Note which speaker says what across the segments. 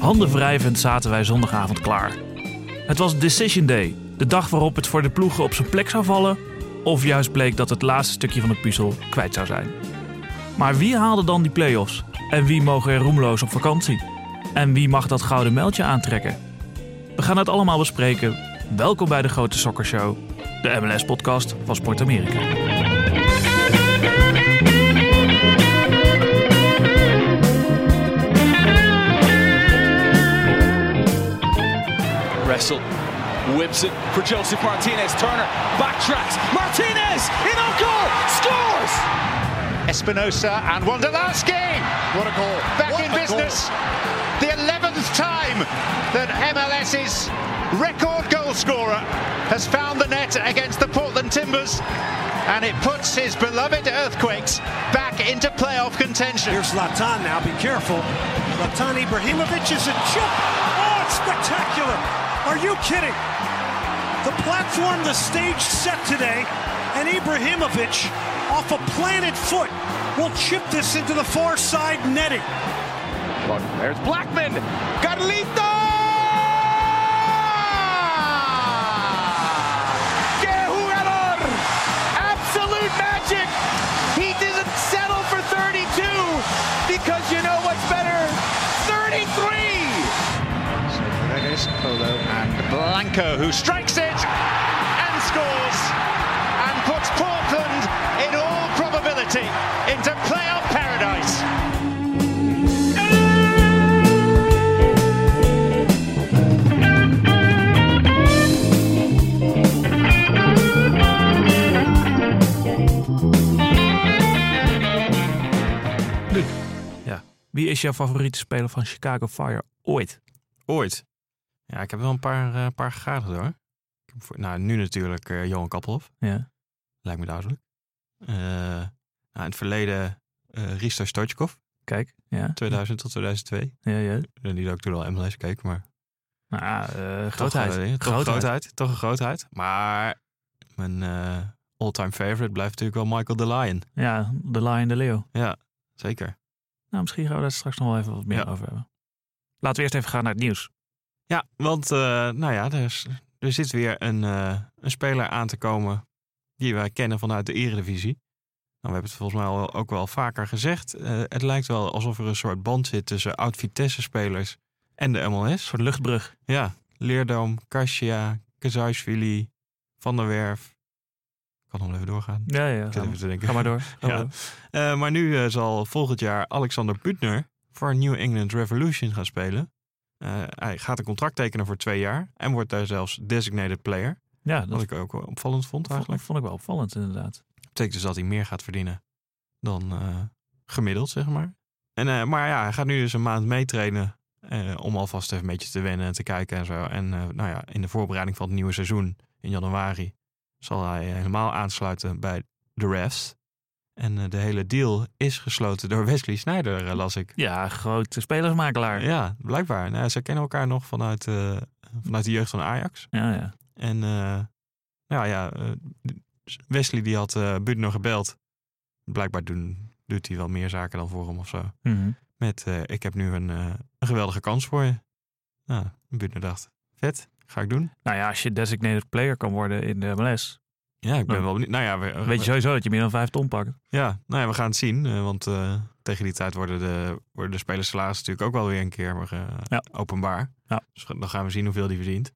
Speaker 1: handenwrijvend zaten wij zondagavond klaar. Het was Decision Day, de dag waarop het voor de ploegen op zijn plek zou vallen, of juist bleek dat het laatste stukje van de puzzel kwijt zou zijn. Maar wie haalde dan die play-offs? En wie mogen er roemloos op vakantie? En wie mag dat gouden mijltje aantrekken? We gaan het allemaal bespreken. Welkom bij de Grote Soccer Show, de MLS-podcast van Sport Amerika.
Speaker 2: Wrestle. Whips it for Joseph Martinez. Turner backtracks. Martinez in on goal. Scores!
Speaker 3: Espinosa and Wondolowski. What a goal. Back in business. The 11th time that MLS's record goal scorer has found the net against the Portland Timbers. And it puts his beloved Earthquakes back into playoff contention.
Speaker 4: Here's Latan now. Be careful. Latan Ibrahimovic is a chip. Oh, it's spectacular. Are you kidding? The platform, the stage set today, and Ibrahimovic off a planted foot will chip this into the far side netting.
Speaker 2: There's Blackman. Carlito! Que jugador! Absolute magic! He doesn't settle for 32 because you know what's better? 33!
Speaker 3: So Paredes, Polo, and Blanco, who strikes it and scores and puts Portland in all probability into playoff paradise.
Speaker 1: Ja. Wie is jouw favoriete speler van Chicago Fire ooit?
Speaker 5: Ooit. Ja, ik heb wel een paar, eh paar gegadigd hoor. Ik heb voor- nou, nu natuurlijk eh, Johan Kappelhoff.
Speaker 1: Ja.
Speaker 5: Lijkt me duidelijk. Eh, nou, in het verleden eh Risto Stoichkov,
Speaker 1: Kijk, ja.
Speaker 5: 2000 tot 2002.
Speaker 1: ja, ja.
Speaker 5: En die had ik toen al MLS gekeken, maar...
Speaker 1: Nou, eh,
Speaker 5: toch,
Speaker 1: grootheid.
Speaker 5: eh, toch
Speaker 1: Grootheid.
Speaker 5: grootheid. Toch een grootheid. Maar mijn eh, all-time favorite blijft natuurlijk wel Michael de Lion.
Speaker 1: Ja, de Lion, de Leeuw.
Speaker 5: Ja, zeker.
Speaker 1: Nou, misschien gaan we daar straks nog wel even wat meer
Speaker 5: Ja.
Speaker 1: over hebben. Laten we eerst even gaan naar het nieuws.
Speaker 5: Ja, want eh, nou ja, er, is, er zit weer een, eh, een speler aan te komen die wij kennen vanuit de Eredivisie. Nou, we hebben het volgens mij al, ook wel vaker gezegd. Eh, het lijkt wel alsof er een soort band zit tussen oud-Vitesse-spelers en de MLS.
Speaker 1: Voor de luchtbrug.
Speaker 5: Ja, Leerdoom, Kasia, Kazajsvili, Van der Werf. Ik kan nog wel even doorgaan.
Speaker 1: Ja, ja.
Speaker 5: Ik
Speaker 1: Ga,
Speaker 5: zit
Speaker 1: maar-
Speaker 5: even te denken.
Speaker 1: ga maar door. Ga
Speaker 5: Ja.
Speaker 1: maar door.
Speaker 5: Eh, maar nu eh, zal volgend jaar Alexander Butner voor New England Revolution gaan spelen. Eh, hij gaat een contract tekenen voor twee jaar en wordt daar zelfs designated player.
Speaker 1: Ja,
Speaker 5: Wat
Speaker 1: dat
Speaker 5: ik ook wel opvallend vond
Speaker 1: vond,
Speaker 5: eigenlijk.
Speaker 1: vond ik wel opvallend inderdaad.
Speaker 5: Dat betekent dus dat hij meer gaat verdienen dan eh, gemiddeld, zeg maar. En, eh, maar ja, hij gaat nu dus een maand meetrainen eh, om alvast even een beetje te wennen en te kijken en zo. En eh, nou ja, in de voorbereiding van het nieuwe seizoen in januari zal hij helemaal aansluiten bij de refs. En eh, de hele deal is gesloten door Wesley Snyder, eh, las ik.
Speaker 1: Ja, grote spelersmakelaar. Ja,
Speaker 5: Ja, blijkbaar. Nou, ze kennen elkaar nog vanuit, eh, vanuit de jeugd van Ajax.
Speaker 1: ja.
Speaker 5: En eh, nou ja, eh, Wesley die had eh Budner gebeld. Blijkbaar doen, doet hij wel meer zaken dan voor hem of zo.
Speaker 1: Mhm.
Speaker 5: Met eh, ik heb nu een, eh, een geweldige kans voor je. Nou, Budner dacht, vet, ga ik doen.
Speaker 1: Nou ja, als je designated player kan worden in de MLS,
Speaker 5: Ja, ik ben
Speaker 1: Nou,
Speaker 5: wel benieuwd. Nou ja, we,
Speaker 1: weet je sowieso dat je meer dan vijf ton pakt.
Speaker 5: ja, nou ja, we gaan het zien. eh, want eh, tegen die tijd worden de, worden de spelers salaris natuurlijk ook wel weer een keer eh,
Speaker 1: Ja.
Speaker 5: openbaar.
Speaker 1: Ja.
Speaker 5: Dus dan gaan we zien hoeveel die verdient.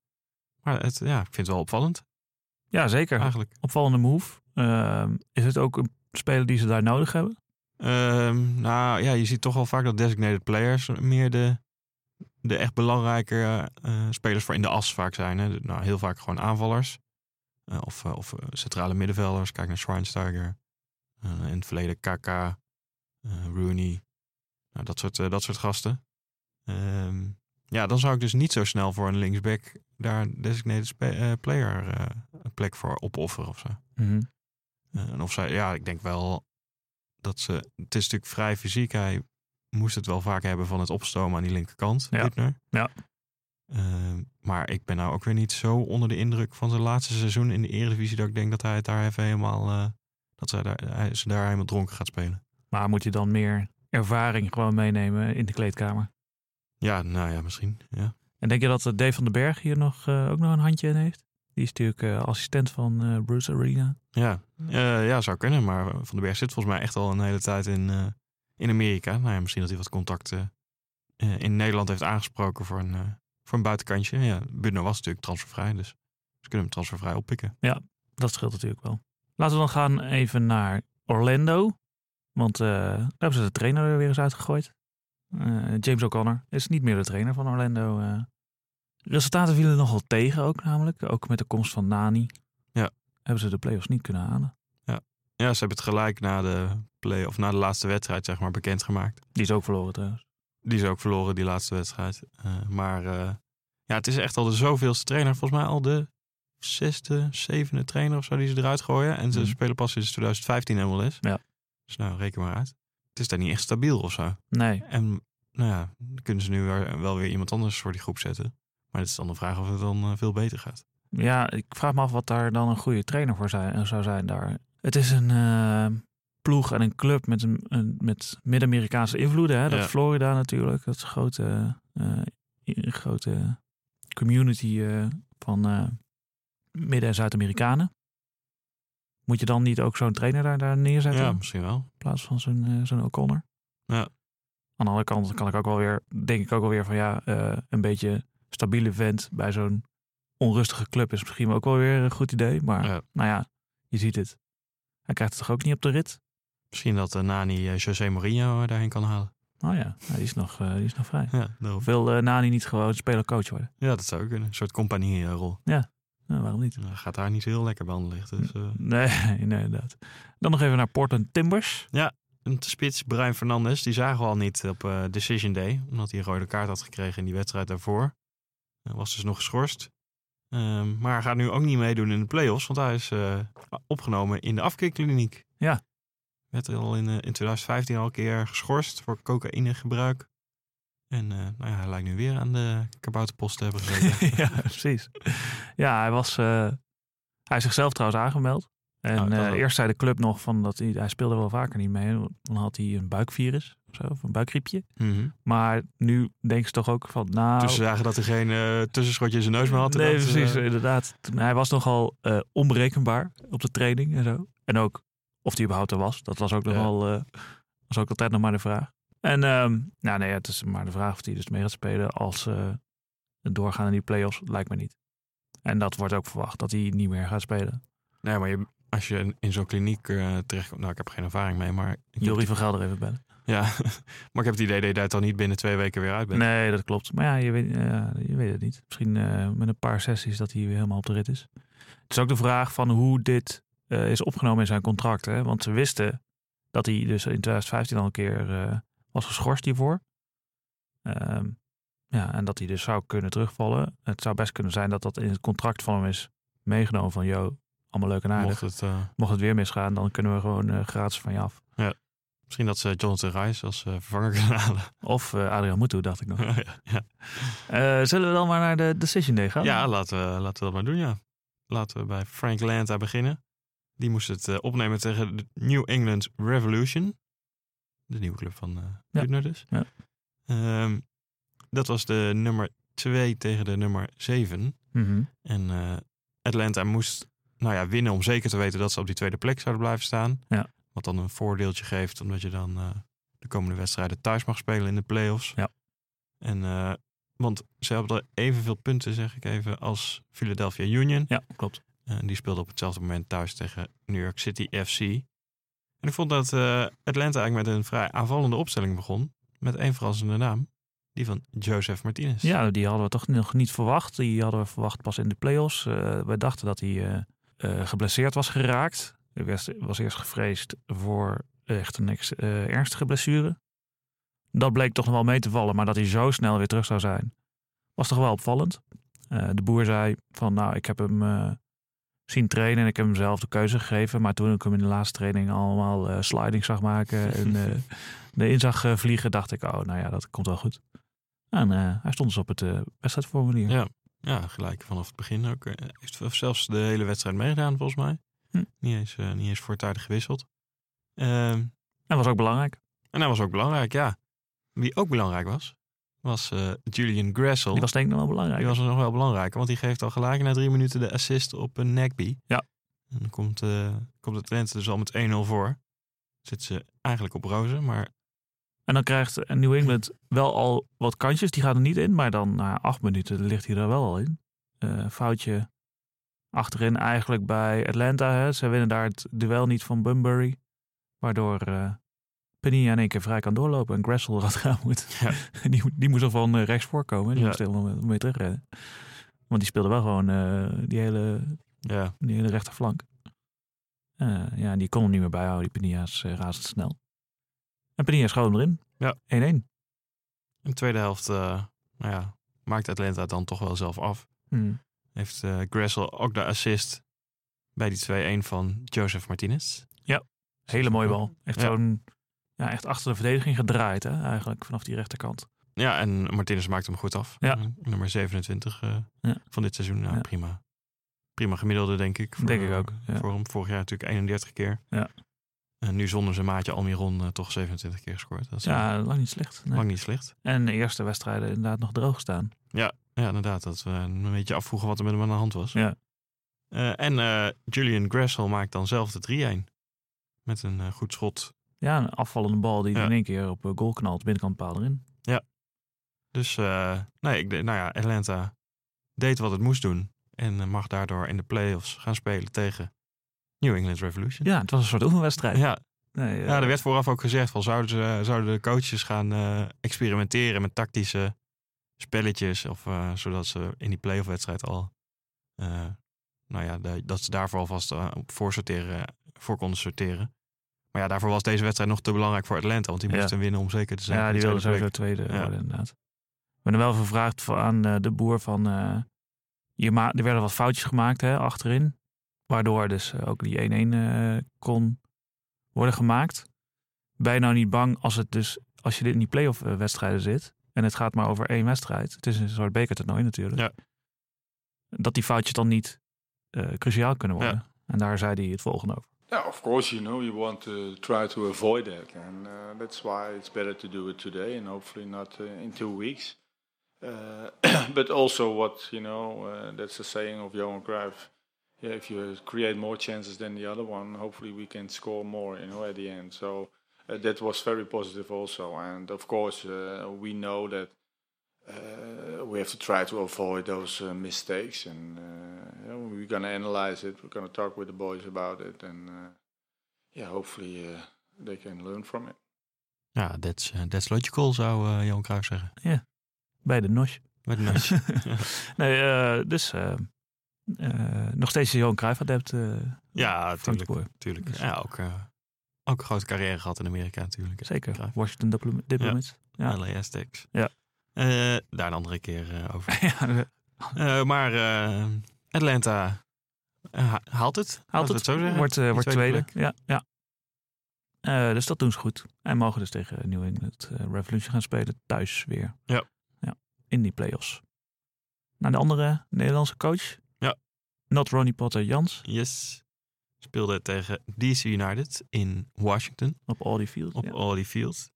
Speaker 5: Maar het, ja, ik vind het wel opvallend
Speaker 1: Ja, zeker.
Speaker 5: eigenlijk.
Speaker 1: Opvallende move. Ehm, is het ook een speler die ze daar nodig hebben?
Speaker 5: Ehm, nou ja, je ziet toch wel vaak dat designated players meer de, de echt belangrijke eh, spelers voor in de as vaak zijn. Hè. Nou, heel vaak gewoon aanvallers. Eh, of, eh, of eh, centrale middenvelders. Kijk naar Schweinsteiger. Eh, in het verleden Kaka, eh, Rooney. Nou, dat, soort, eh, dat soort gasten. Ehm, ja, dan zou ik dus niet zo snel voor een linksback daar een designated spe- eh, player eh, een plek voor opofferen of zo. Eh, En of zij, ja, ik denk wel dat ze. Het is natuurlijk vrij fysiek. Hij moest het wel vaak hebben van het opstomen aan die linkerkant.
Speaker 1: Ja.
Speaker 5: Diepner.
Speaker 1: Ja.
Speaker 5: Ehm, maar ik ben nou ook weer niet zo onder de indruk van zijn laatste seizoen in de Eredivisie. dat ik denk dat hij het daar even helemaal. eh, dat zij daar, hij, ze daar helemaal dronken gaat spelen.
Speaker 1: Maar moet je dan meer ervaring gewoon meenemen in de kleedkamer?
Speaker 5: Ja, nou ja, misschien. Ja.
Speaker 1: En denk je dat eh, Dave van den Berg hier nog, eh, ook nog een handje in heeft? Die is natuurlijk eh, assistent van eh, Bruce Arena.
Speaker 5: Ja. Eh, ja, zou kunnen. Maar Van den Berg zit volgens mij echt al een hele tijd in, eh, in Amerika. Nou ja, misschien dat hij wat contacten eh, in Nederland heeft aangesproken voor een, eh, voor een buitenkantje. Ja, Budno was natuurlijk transfervrij, dus ze kunnen hem transfervrij oppikken.
Speaker 1: Dat scheelt natuurlijk wel. Laten we dan gaan even naar Orlando. Want eh, daar hebben ze de trainer er weer eens uitgegooid. Eh, James O'Connor is niet meer de trainer van Orlando. eh. Resultaten vielen nogal tegen ook namelijk. Ook met de komst van Nani.
Speaker 5: Ja.
Speaker 1: Hebben ze de play-offs niet kunnen halen.
Speaker 5: Ja, ze hebben het gelijk na de, play, of na de laatste wedstrijd zeg maar, bekendgemaakt.
Speaker 1: Die is ook verloren trouwens.
Speaker 5: Die is ook verloren, die laatste wedstrijd. Eh, maar eh, ja, het is echt al de zoveelste trainer. Volgens mij al de zesde, zevende trainer of zo die ze eruit gooien. En ze
Speaker 1: Mhm.
Speaker 5: spelen pas sinds 2015 MLS.
Speaker 1: Ja.
Speaker 5: Dus nou, reken maar uit. Het is daar niet echt stabiel of zo.
Speaker 1: Nee,
Speaker 5: En nou ja, dan kunnen ze nu weer- wel weer iemand anders voor die groep zetten. Maar het is dan de vraag of het dan eh, veel beter gaat.
Speaker 1: Ja, ik vraag me af wat daar dan een goede trainer voor zijn, zou zijn daar. Het is een eh, ploeg en een club met, een, een- met Midden-Amerikaanse invloeden. Hè? Dat
Speaker 5: Ja.
Speaker 1: Florida natuurlijk, dat is een grote, eh, een grote community eh, van eh, Midden- en Zuid-Amerikanen. Moet je dan niet ook zo'n trainer daar, daar neerzetten
Speaker 5: Ja,
Speaker 1: in
Speaker 5: misschien wel.
Speaker 1: plaats van zo'n eh, zo'n O'Connor?
Speaker 5: Ja.
Speaker 1: Aan de andere kant kan ik ook wel weer, denk ik ook wel weer van ja, eh, een beetje stabiele vent bij zo'n onrustige club is misschien ook wel weer een goed idee. Maar
Speaker 5: Ja.
Speaker 1: nou ja, je ziet het. Hij krijgt het toch ook niet op de rit?
Speaker 5: Misschien dat eh, Nani eh, José Mourinho eh, daarheen kan halen.
Speaker 1: Nou ja, nou, die, is nog, eh, die is nog vrij.
Speaker 5: Ja, daarom.
Speaker 1: Wil eh, Nani niet gewoon speler-coach worden?
Speaker 5: ja, dat zou kunnen. Een soort compagnie-rol.
Speaker 1: Nou, waarom niet?
Speaker 5: gaat daar niet zo heel lekker bij aan liggen. Dus, eh,
Speaker 1: Nee, nee, inderdaad. Dan nog even naar Portland Timbers.
Speaker 5: Een spits, Brian Fernandes, die zagen we al niet op eh, Decision Day. Omdat hij een rode kaart had gekregen in die wedstrijd daarvoor. Hij was dus nog geschorst. Ehm, maar hij gaat nu ook niet meedoen in de play-offs. Want hij is eh, opgenomen in de afkeerkliniek.
Speaker 1: Ja.
Speaker 5: Werd al in, eh, in 2015 al een keer geschorst voor cocaïnegebruik. En eh, nou ja, hij lijkt nu weer aan de kabouterpost te hebben gezeten.
Speaker 1: ja, precies. Ja, hij was. eh, hij is zichzelf trouwens aangemeld. En
Speaker 5: Oh, dat
Speaker 1: eh,
Speaker 5: ook.
Speaker 1: eerst zei de club nog van dat hij, hij speelde wel vaker niet mee. want Dan had hij een buikvirus of zo, of een buikgriepje.
Speaker 5: Mhm.
Speaker 1: Maar nu denken ze toch ook van, nou...
Speaker 5: Toen ze zagen dat hij geen eh, tussenschotje in zijn neus meer had.
Speaker 1: nee,
Speaker 5: dat, eh,
Speaker 1: precies, inderdaad. Toen- Hij was nogal eh, onberekenbaar op de training en zo. En ook of hij überhaupt er was. Dat was ook,
Speaker 5: Ja.
Speaker 1: nogal, eh, was ook altijd nog maar de vraag. En ehm, nou nee, het is maar de vraag of hij dus mee gaat spelen als eh het doorgaan in die play-offs. Lijkt me niet. En dat wordt ook verwacht, dat hij niet meer gaat spelen.
Speaker 5: Nee, maar je, als je in- in zo'n kliniek eh, terechtkomt... Nou, ik heb geen ervaring mee, maar... ik heb
Speaker 1: Jury van Gelder even bellen.
Speaker 5: Ja, maar ik heb het idee dat je daar dan niet binnen twee weken weer uit bent.
Speaker 1: Nee, dat klopt. Maar ja, je weet, ja, je weet het niet. Misschien eh, met een paar sessies dat hij weer helemaal op de rit is. Het is ook de vraag van hoe dit eh, is opgenomen in zijn contract. Hè? Want ze wisten dat hij dus in 2015 al een keer eh, was geschorst hiervoor. Ehm, ja, en dat hij dus zou kunnen terugvallen. Het zou best kunnen zijn dat dat in het contract van hem is meegenomen van... joh, allemaal leuk en aardig.
Speaker 5: Mocht
Speaker 1: Mocht,
Speaker 5: het, eh,
Speaker 1: het weer misgaan, dan kunnen we gewoon eh, gratis van je af.
Speaker 5: misschien dat ze Jonathan Rice als eh, vervanger kunnen halen.
Speaker 1: Of eh, Adriaan Mutu, dacht ik nog.
Speaker 5: ja, ja.
Speaker 1: Eh, zullen we dan maar naar de Decision Day gaan?
Speaker 5: ja laten, we, laten we dat maar doen, ja. Laten we bij Frank Lanta beginnen. Die moest het eh, opnemen tegen de New England Revolution. De nieuwe club van eh
Speaker 1: Ja.
Speaker 5: Buettner dus.
Speaker 1: Ja.
Speaker 5: Ehm, dat was de nummer 2 tegen de nummer 7.
Speaker 1: Mhm.
Speaker 5: En eh, Atlanta moest nou ja, winnen om zeker te weten dat ze op die tweede plek zouden blijven staan.
Speaker 1: Ja.
Speaker 5: Wat dan een voordeeltje geeft, omdat je dan eh, de komende wedstrijden thuis mag spelen in de play-offs.
Speaker 1: Ja.
Speaker 5: En, eh, want ze hadden evenveel punten, zeg ik even, als Philadelphia Union.
Speaker 1: Ja, klopt.
Speaker 5: En die speelde op hetzelfde moment thuis tegen New York City FC. En ik vond dat eh, Atlanta eigenlijk met een vrij aanvallende opstelling begon. Met één verrassende naam. Die van Joseph Martinez.
Speaker 1: Ja, die hadden we toch nog niet verwacht. Die hadden we verwacht pas in de play-offs. Eh, wij dachten dat hij eh, eh, geblesseerd was geraakt. Er was, was eerst gevreesd voor echt een ex- eh, ernstige blessure. Dat bleek toch nog wel mee te vallen, maar dat hij zo snel weer terug zou zijn, was toch wel opvallend. Eh, de boer zei van, nou, ik heb hem eh, zien trainen en ik heb hem zelf de keuze gegeven. Maar toen ik hem in de laatste training allemaal eh sliding zag maken en eh erin zag eh, vliegen, dacht ik, oh, nou ja, dat komt wel goed. En eh, hij stond dus op het eh, wedstrijdformulier.
Speaker 5: Ja. Ja, gelijk vanaf het begin ook. eh, Heeft zelfs de hele wedstrijd meegedaan, volgens mij.
Speaker 1: Hm.
Speaker 5: Niet, eens, eh, niet eens voortijdig gewisseld. Ehm,
Speaker 1: En was ook belangrijk.
Speaker 5: en dat was ook belangrijk, ja. Wie ook belangrijk was, was was eh, Julian Gressel.
Speaker 1: Die was denk ik nog wel belangrijk.
Speaker 5: Die was nog wel belangrijker, want die geeft al gelijk na drie minuten de assist op een Nagby.
Speaker 1: Ja.
Speaker 5: En dan komt, eh komt de Twente dus al met 1-0 voor. Zit ze eigenlijk op rozen, maar
Speaker 1: En dan krijgt eh, New England wel al wat kansjes. Die gaat er niet in, maar dan na acht minuten ligt hij er wel al in. Eh, foutje achterin eigenlijk bij Atlanta. Hè. Ze winnen daar het duel niet van Bunbury. Waardoor eh Penny in één keer vrij kan doorlopen en Gressel eruit gaan moet.
Speaker 5: Ja.
Speaker 1: die, moet- die moest al van eh, rechts voorkomen. Die
Speaker 5: Ja.
Speaker 1: moest helemaal mee terugrennen. Want die speelde wel gewoon eh, die hele
Speaker 5: ja,
Speaker 1: die hele rechterflank. Eh, ja, en die kon hem niet meer bijhouden. Die Penia is eh, razendsnel. En Penia schoot hem erin.
Speaker 5: Ja.
Speaker 1: 1-1.
Speaker 5: in de tweede helft eh, nou ja, maakt Atlanta het dan toch wel zelf af.
Speaker 1: Hm.
Speaker 5: Heeft eh, Gressel ook de assist bij die 2-1 van Joseph Martinez.
Speaker 1: Hele mooie bal. Echt
Speaker 5: Ja.
Speaker 1: zo'n... Ja, echt achter de verdediging gedraaid hè, eigenlijk. Vanaf die rechterkant.
Speaker 5: Ja, en Martinez maakt hem goed af. Eh,
Speaker 1: Ja.
Speaker 5: Nummer 27 eh,
Speaker 1: Ja.
Speaker 5: van dit seizoen. Nou,
Speaker 1: Ja.
Speaker 5: prima. Prima gemiddelde, denk ik. voor- eh,
Speaker 1: Denk ik ook. Ja.
Speaker 5: Voor hem vorig jaar natuurlijk 31 keer.
Speaker 1: Ja.
Speaker 5: En nu zonder zijn maatje Almiron eh, toch 27 keer gescoord. Dat is eh,
Speaker 1: ja, lang niet slecht. nee.
Speaker 5: lang niet slecht.
Speaker 1: En de eerste wedstrijden inderdaad nog droog staan.
Speaker 5: Ja, inderdaad. Dat we een beetje afvroegen wat er met hem aan de hand was.
Speaker 1: Ja.
Speaker 5: Eh, en eh, Julian Gressel maakt dan zelf de 3-1. Met een eh, goed schot.
Speaker 1: Ja, een afvallende bal die
Speaker 5: Ja.
Speaker 1: in één keer op eh, goal knalt. Binnenkant paal erin.
Speaker 5: Dus eh, nee, ik, denk- nou ja, Atlanta deed wat het moest doen. En eh, mag daardoor in de playoffs gaan spelen tegen New England Revolution.
Speaker 1: Ja, het was een soort oefenwedstrijd.
Speaker 5: Ja,
Speaker 1: Nee, eh,
Speaker 5: Ja, er werd vooraf ook gezegd van zouden, ze, zouden de coaches gaan eh, experimenteren met tactische spelletjes. Of, eh, zodat ze in die playoff wedstrijd al, eh, nou ja, de- dat ze daarvoor alvast eh, op voor, sorteren, voor konden sorteren. Maar ja, daarvoor was deze wedstrijd nog te belangrijk voor Atlanta. Want die
Speaker 1: Ja.
Speaker 5: moesten winnen om zeker te zijn.
Speaker 1: Ja,
Speaker 5: van de
Speaker 1: die wilde
Speaker 5: tweede
Speaker 1: sowieso tweede
Speaker 5: Ja.
Speaker 1: worden, inderdaad. We hebben wel gevraagd voor- aan eh, de boer van... eh, je ma- er werden wat foutjes gemaakt hè, achterin. Waardoor dus eh, ook die 1-1 eh, kon worden gemaakt. Ben je nou niet bang als, het dus, als je dit in die playoff eh, wedstrijden zit... en het gaat maar over één wedstrijd. Het is een soort bekertoernooi natuurlijk.
Speaker 5: Ja.
Speaker 1: Dat die foutjes dan niet eh, cruciaal kunnen worden. En daar zei hij het volgende over.
Speaker 6: Yeah, of course, you know, you want to try to avoid that. And uh, that's why it's better to do it today and hopefully not uh, in two weeks. Uh, but also, what, you know, uh, that's the saying of Johan Cruyff. Yeah, if you create more chances than the other one, hopefully we can score more, you know, at the end. So uh, that was very positive also. And of course, uh, we know that uh, we have to try to avoid those uh, mistakes, and uh, yeah, we're going to analyze it. We're going to talk with the boys about it, and uh, yeah, hopefully uh, they can learn from it.
Speaker 5: week. Ja, that's, eh, that's logical, zou eh Johan Cruijff zeggen.
Speaker 1: Bij de NOS.
Speaker 5: Met een neus.
Speaker 1: nee, eh, dus eh, eh, nog steeds een Johan Cruijff adept. eh,
Speaker 5: ja,
Speaker 1: Frank de
Speaker 5: tuurlijk.
Speaker 1: Boer. Dus-
Speaker 5: tuurlijk. Ja, ook, eh, ook een grote carrière gehad in Amerika natuurlijk.
Speaker 1: Zeker.
Speaker 5: Cruijff.
Speaker 1: Washington Diplo- Diplomats. Ja.
Speaker 5: LA Aztecs.
Speaker 1: Ja.
Speaker 5: Eh, daar een andere keer eh, over.
Speaker 1: Ja.
Speaker 5: Eh, maar eh, Atlanta eh, ha- haalt het. Laten
Speaker 1: haalt
Speaker 5: we
Speaker 1: het.
Speaker 5: zo zeggen.
Speaker 1: Wordt, eh,
Speaker 5: Die
Speaker 1: wordt tweede. Ja,
Speaker 5: tweede
Speaker 1: ja. Eh, dus dat doen ze goed. En mogen dus tegen New England eh, Revolution gaan spelen. Thuis weer.
Speaker 5: Ja.
Speaker 1: ja. In die playoffs. Naar de andere Nederlandse coach.
Speaker 5: Ja.
Speaker 1: Not Ronnie Potter Jans
Speaker 5: Yes. Speelde tegen DC United in Washington
Speaker 1: op Audi Field.
Speaker 5: op
Speaker 1: ja.
Speaker 5: Audi Field.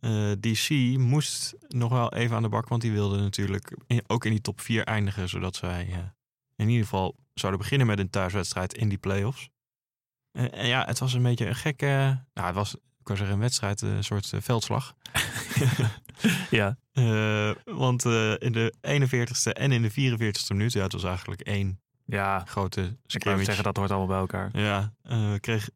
Speaker 5: Eh, DC moest nog wel even aan de bak, want die wilde natuurlijk in- ook in die top 4 eindigen, zodat zij eh, in ieder geval zouden beginnen met een thuiswedstrijd in die playoffs. Eh, en ja, het was een beetje een gekke, nou, het was, ik wou zeggen, een wedstrijd, een soort eh, veldslag.
Speaker 1: ja.
Speaker 5: Eh, want eh, in de 41ste en in de 44ste minuut, ja, het was eigenlijk één
Speaker 1: Ja,
Speaker 5: grote
Speaker 1: ik wou
Speaker 5: scrimmage.
Speaker 1: zeggen dat hoort allemaal bij elkaar.
Speaker 5: Ja, eh, kreeg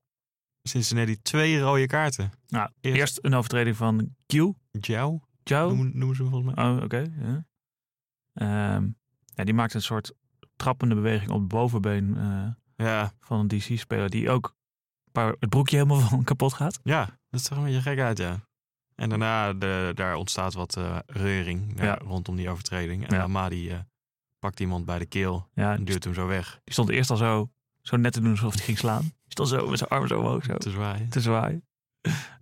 Speaker 5: Cincinnati twee rode kaarten.
Speaker 1: Nou,
Speaker 5: Eerst-
Speaker 1: eerst, een overtreding van Q.
Speaker 5: Jou,
Speaker 1: Jou.
Speaker 5: noemen, noemen ze hem volgens mij.
Speaker 1: Oh, oké. ja. Ehm, ja, die maakt een soort trappende beweging op het bovenbeen eh,
Speaker 5: Ja,
Speaker 1: van een DC-speler. Die ook een paar- het broekje helemaal van kapot gaat.
Speaker 5: ja, dat zag er een beetje gek uit, ja. En daarna, de, daar ontstaat wat eh, reuring ja,
Speaker 1: Ja.
Speaker 5: rondom die overtreding. En
Speaker 1: Ja.
Speaker 5: Amadi eh, pakt iemand bij de keel
Speaker 1: Ja, dus die
Speaker 5: en duwt hem zo weg.
Speaker 1: stond eerst al zo, zo net te doen alsof hij ging slaan. Die stond zo met zijn armen zo omhoog, zo
Speaker 5: Te zwaaien.
Speaker 1: te zwaaien.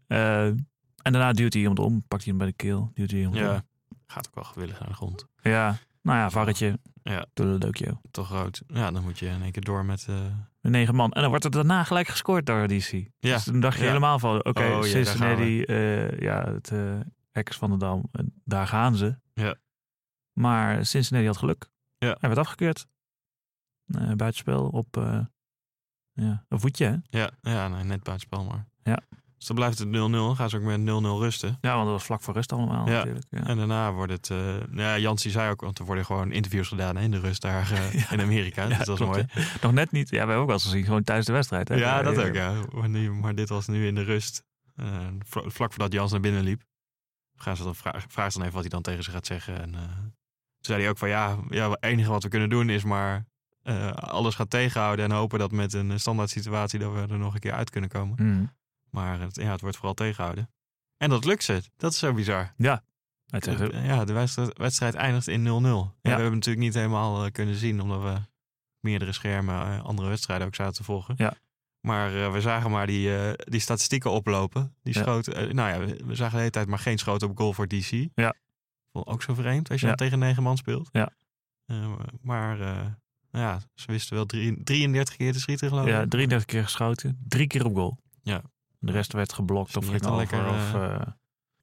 Speaker 1: Eh, en daarna duwt hij iemand om, pakt hij hem bij de keel, duwt hij iemand om.
Speaker 5: Ja, gaat ook wel gewillig aan de grond.
Speaker 1: Ja, nou ja, varretje.
Speaker 5: Ja.
Speaker 1: Toedeledokie.
Speaker 5: Toch rood. Ja, dan moet je in één keer door met... eh,
Speaker 1: Met negen man. En dan wordt er daarna gelijk gescoord door DC.
Speaker 5: ja,
Speaker 1: Dus toen dacht je
Speaker 5: Ja.
Speaker 1: helemaal van, oké,
Speaker 5: Oh, ja, daar gaan
Speaker 1: Cincinnati, eh, ja, het eh Hekkers van de Dam, eh, daar gaan ze.
Speaker 5: Ja.
Speaker 1: Maar Cincinnati had geluk.
Speaker 5: Ja.
Speaker 1: Hij werd afgekeerd. Eh, buitenspel op eh, ja, een voetje, hè?
Speaker 5: Ja, ja nee, net buitenspel maar.
Speaker 1: Ja.
Speaker 5: Dus dan blijft het 0-0. Dan gaan ze ook met 0-0 rusten.
Speaker 1: Ja, want dat was vlak voor rust allemaal
Speaker 5: Ja.
Speaker 1: natuurlijk. Ja.
Speaker 5: En daarna wordt het... eh, nou ja, Jansie zei ook, want er worden gewoon interviews gedaan hè, in de rust daar eh,
Speaker 1: Ja.
Speaker 5: in Amerika.
Speaker 1: Ja,
Speaker 5: dus dat is
Speaker 1: klopt,
Speaker 5: mooi.
Speaker 1: hè. Nog net niet. Ja, we hebben ook wel eens gezien. Gewoon tijdens de wedstrijd. Hè?
Speaker 5: Ja,
Speaker 1: Maar,
Speaker 5: dat
Speaker 1: eh,
Speaker 5: ook, ja. Maar, nu- maar dit was nu in de rust. Eh, vla- vlak voordat Jans naar binnen liep. Gaan ze dan vraag, vraag ze dan even wat hij dan tegen ze gaat zeggen. En, eh, toen zei hij ook van ja, ja, het enige wat we kunnen doen is maar eh, alles gaan tegenhouden. En hopen dat met een eh, standaard situatie dat we er nog een keer uit kunnen komen.
Speaker 1: Mm.
Speaker 5: Maar het, ja, het wordt vooral tegenhouden. En dat lukt ze. Dat is zo bizar.
Speaker 1: Hij zegt, eh,
Speaker 5: ja, de wedstrijd, wedstrijd eindigt in 0-0. Ja, we hebben het natuurlijk niet helemaal eh, kunnen zien, omdat we meerdere schermen eh, andere wedstrijden ook zaten te volgen.
Speaker 1: Ja.
Speaker 5: Maar eh, we zagen maar die, eh, die statistieken oplopen. Die
Speaker 1: Ja.
Speaker 5: schoten, eh, nou ja, we- we zagen de hele tijd maar geen schoten op goal voor DC.
Speaker 1: Ja.
Speaker 5: Vond ik ook zo vreemd als je
Speaker 1: Ja.
Speaker 5: dan tegen negen man speelt.
Speaker 1: Ja.
Speaker 5: Eh, maar eh, nou ja, ze wisten wel drie- 33 keer te schieten geloof ik.
Speaker 1: ja, 33 keer geschoten. Drie keer op goal.
Speaker 5: Ja.
Speaker 1: De rest werd geblokt
Speaker 5: Dus
Speaker 1: of
Speaker 5: die heeft
Speaker 1: ging
Speaker 5: dan
Speaker 1: over.
Speaker 5: lekker,
Speaker 1: Of, eh,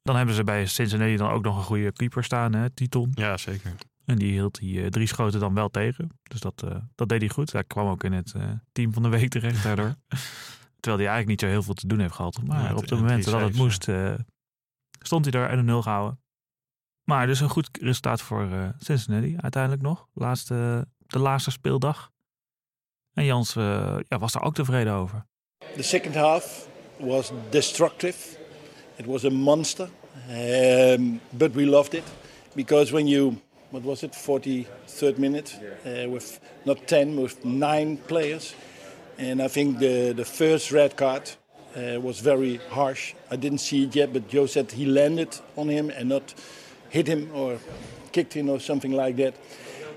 Speaker 1: dan hebben ze bij Cincinnati dan ook nog een goede keeper staan, hè, Titon.
Speaker 5: ja, zeker.
Speaker 1: En die hield die eh, drie schoten dan wel tegen. Dus dat, eh, dat deed hij goed. Hij kwam ook in het eh, team van de week terecht daardoor. Terwijl hij eigenlijk niet zo heel veel te doen heeft gehad. Maar
Speaker 5: Ja,
Speaker 1: op de
Speaker 5: en
Speaker 1: momenten
Speaker 5: drie
Speaker 1: dat het
Speaker 5: saves,
Speaker 1: moest, eh, stond hij daar en een nul gehouden. Maar dus een goed resultaat voor eh, Cincinnati uiteindelijk nog. Laatste, de laatste speeldag. En Jans eh, ja, was daar ook tevreden over.
Speaker 7: The second half was destructive. It was a monster, um, but we loved it because when you, what was it, 43rd minute, uh, with not 10, with nine players, and I think the, the first red card uh, was very harsh. I didn't see it yet, but Joe said he landed on him and not hit him or kicked him or something like that.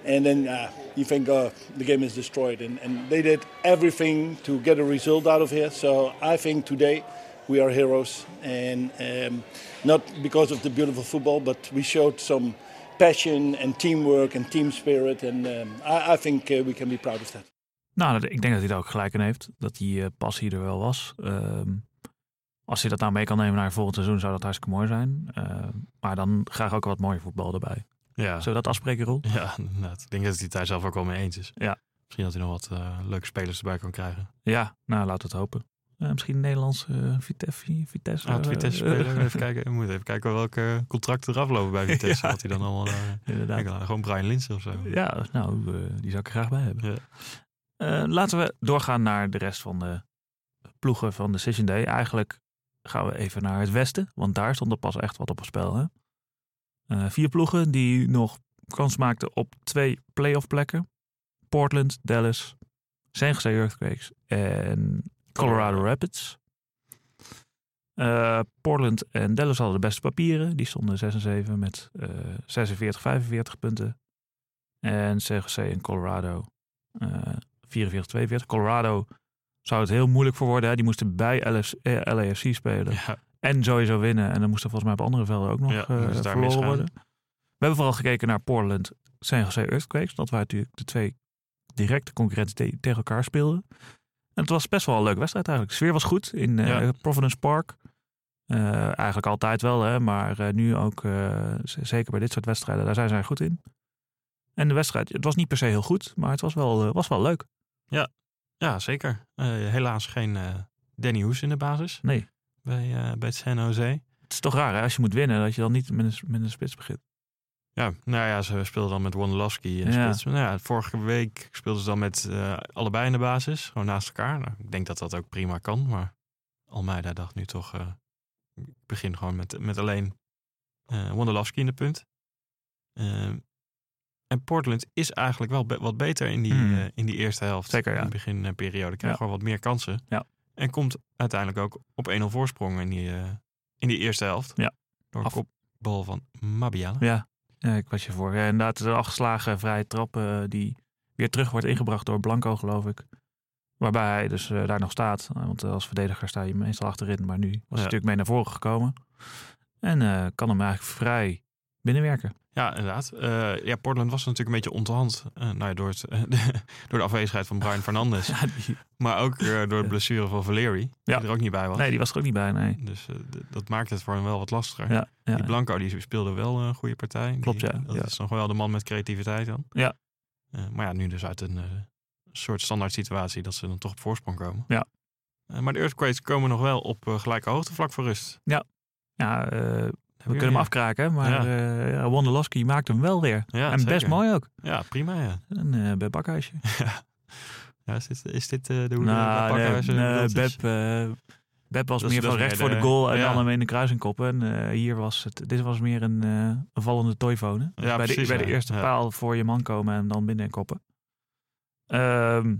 Speaker 7: And then uh, you think oh, the game is destroyed. And, and they did everything to get a result out of here. So I think today we are heroes. And um, not because of the beautiful football, but we showed some passion and teamwork and team spirit. And um, I, I think uh, we can be proud of that.
Speaker 1: Nou, dat- ik denk dat hij daar ook gelijk in heeft. Dat die eh, passie er wel was. Ehm, als hij dat nou mee kan nemen naar volgend seizoen, zou dat hartstikke mooi zijn. Ehm, maar dan graag ook wat mooier voetbal erbij.
Speaker 5: Ja.
Speaker 1: Zullen we dat afspreken, Roel?
Speaker 5: Ja, inderdaad. Ik denk dat hij het daar zelf ook wel mee eens is.
Speaker 1: Ja.
Speaker 5: Misschien dat hij nog wat eh, leuke spelers erbij kan krijgen.
Speaker 1: Ja, nou, laten we het hopen. Eh, misschien een Nederlandse eh, Vitesse. Vitesse,
Speaker 5: Ah,
Speaker 1: eh,
Speaker 5: Vitesse
Speaker 1: eh,
Speaker 5: speler. Even kijken. We moeten even kijken welke contracten eraf lopen bij Vitesse.
Speaker 1: Ja.
Speaker 5: Wat hij dan allemaal... eh,
Speaker 1: Inderdaad.
Speaker 5: ik wil gewoon Brian Linsen of zo.
Speaker 1: Ja, nou, eh, die zou ik er graag bij hebben.
Speaker 5: Ja.
Speaker 1: Eh, laten we doorgaan naar de rest van de ploegen van de Session Day. Eigenlijk gaan we even naar het westen, want daar stond er pas echt wat op het spel. Hè? Eh, vier ploegen die nog kans maakten op twee playoff plekken. Portland, Dallas, San Jose Earthquakes en Colorado Rapids. Eh, Portland en Dallas hadden de beste papieren. Die stonden 6 en 7 met eh 46, 45 punten. En CGC en Colorado eh 44, 42. Colorado zou het heel moeilijk voor worden. Hè? Die moesten bij LS, eh, LAFC spelen.
Speaker 5: Ja,
Speaker 1: En sowieso winnen. En dan moesten volgens mij op andere velden ook nog
Speaker 5: Ja,
Speaker 1: eh,
Speaker 5: dus daar
Speaker 1: verloren
Speaker 5: misgaan.
Speaker 1: worden. We hebben vooral gekeken naar Portland, San Jose Earthquakes. Dat waren natuurlijk de twee directe concurrenten te- tegen elkaar speelden. En het was best wel een leuke wedstrijd eigenlijk. De sfeer was goed in eh,
Speaker 5: Ja.
Speaker 1: Providence Park. Eh, eigenlijk altijd wel, hè, maar eh, nu ook, eh, z- zeker bij dit soort wedstrijden, daar zijn zij goed in. En de wedstrijd, het was niet per se heel goed, maar het was wel, eh, was wel leuk.
Speaker 5: ja zeker. Eh, helaas geen eh, Danny Hoes in de basis
Speaker 1: Nee,
Speaker 5: bij, eh, bij San Jose.
Speaker 1: het is toch raar hè, als je moet winnen, dat je dan niet met een, s- met een spits begint.
Speaker 5: Ja, nou ja, ze speelden dan met Wondolowski en
Speaker 1: Ja.
Speaker 5: Spits. Nou ja, vorige week speelden ze dan met eh, allebei in de basis, gewoon naast elkaar. Nou, ik denk dat dat ook prima kan, maar Almeida dacht nu toch... eh, ik begin gewoon met, met alleen eh Wondolowski in de punt. Ehm, en Portland is eigenlijk wel be- wat beter in die,
Speaker 1: Hmm.
Speaker 5: eh, in die eerste helft.
Speaker 1: Zeker, ja.
Speaker 5: In de beginperiode krijgt
Speaker 1: Ja.
Speaker 5: gewoon wat meer kansen.
Speaker 1: Ja.
Speaker 5: En komt uiteindelijk ook op 1-0 voorsprong in die, eh, in die eerste helft.
Speaker 1: Ja.
Speaker 5: Door
Speaker 1: Af-
Speaker 5: een kopbal van Mabiala.
Speaker 1: Ja, ja, ik was je voor. Ja, inderdaad, de afgeslagen vrije trap eh, die weer terug wordt ingebracht door Blanco, geloof ik. Waarbij hij dus eh, daar nog staat. Eh, Want eh, als verdediger sta je meestal achterin. Maar nu was hij
Speaker 5: Ja.
Speaker 1: natuurlijk mee naar voren gekomen. En eh, kan hem eigenlijk vrij binnenwerken.
Speaker 5: Ja, inderdaad. Eh, ja, Portland was natuurlijk een beetje onthand eh, nou ja, door, het, eh, de, door de afwezigheid van Brian Fernandes.
Speaker 1: Ja, die-
Speaker 5: Maar ook eh, door de blessure van Valeri,
Speaker 1: Ja.
Speaker 5: die er ook niet bij was.
Speaker 1: nee, die was er ook niet bij, nee.
Speaker 5: Dus eh, d- dat maakt het voor hem wel wat lastiger.
Speaker 1: Ja, ja.
Speaker 5: Die Blanco die speelde wel een goede partij. Die-
Speaker 1: Klopt, ja.
Speaker 5: Dat
Speaker 1: Ja.
Speaker 5: is nog wel de man met creativiteit dan.
Speaker 1: Ja.
Speaker 5: Eh, maar ja, nu dus uit een eh, soort standaard situatie dat ze dan toch op voorsprong komen.
Speaker 1: Ja.
Speaker 5: Eh, maar de Earthquakes komen nog wel op eh, gelijke hoogtevlak voor rust.
Speaker 1: ja eh, we
Speaker 5: Heb je
Speaker 1: kunnen hem
Speaker 5: weer.
Speaker 1: afkraken, maar
Speaker 5: Ja.
Speaker 1: eh ja, Wondolowski maakt hem wel weer.
Speaker 5: Ja,
Speaker 1: en best
Speaker 5: zeker.
Speaker 1: mooi ook.
Speaker 5: Ja, prima ja.
Speaker 1: Een eh Beb Bakhuisje.
Speaker 5: ja is dit, is dit eh, de hoe
Speaker 1: Nou,
Speaker 5: de
Speaker 1: nee,
Speaker 5: Bakhuizen
Speaker 1: nee,
Speaker 5: beeld is?
Speaker 1: Beb, eh, Beb was
Speaker 5: Dat is-
Speaker 1: meer
Speaker 5: dat
Speaker 1: van
Speaker 5: is
Speaker 1: recht
Speaker 5: meer
Speaker 1: voor de
Speaker 5: de-
Speaker 1: goal en
Speaker 5: ja.
Speaker 1: dan hem in de kruising koppen. En eh, hier was het, dit was meer een, eh, een vallende toivonen.
Speaker 5: Ja,
Speaker 1: bij,
Speaker 5: precies,
Speaker 1: de, bij
Speaker 5: ja.
Speaker 1: de eerste
Speaker 5: Ja.
Speaker 1: paal voor je man komen en dan binnen koppen. Ehm,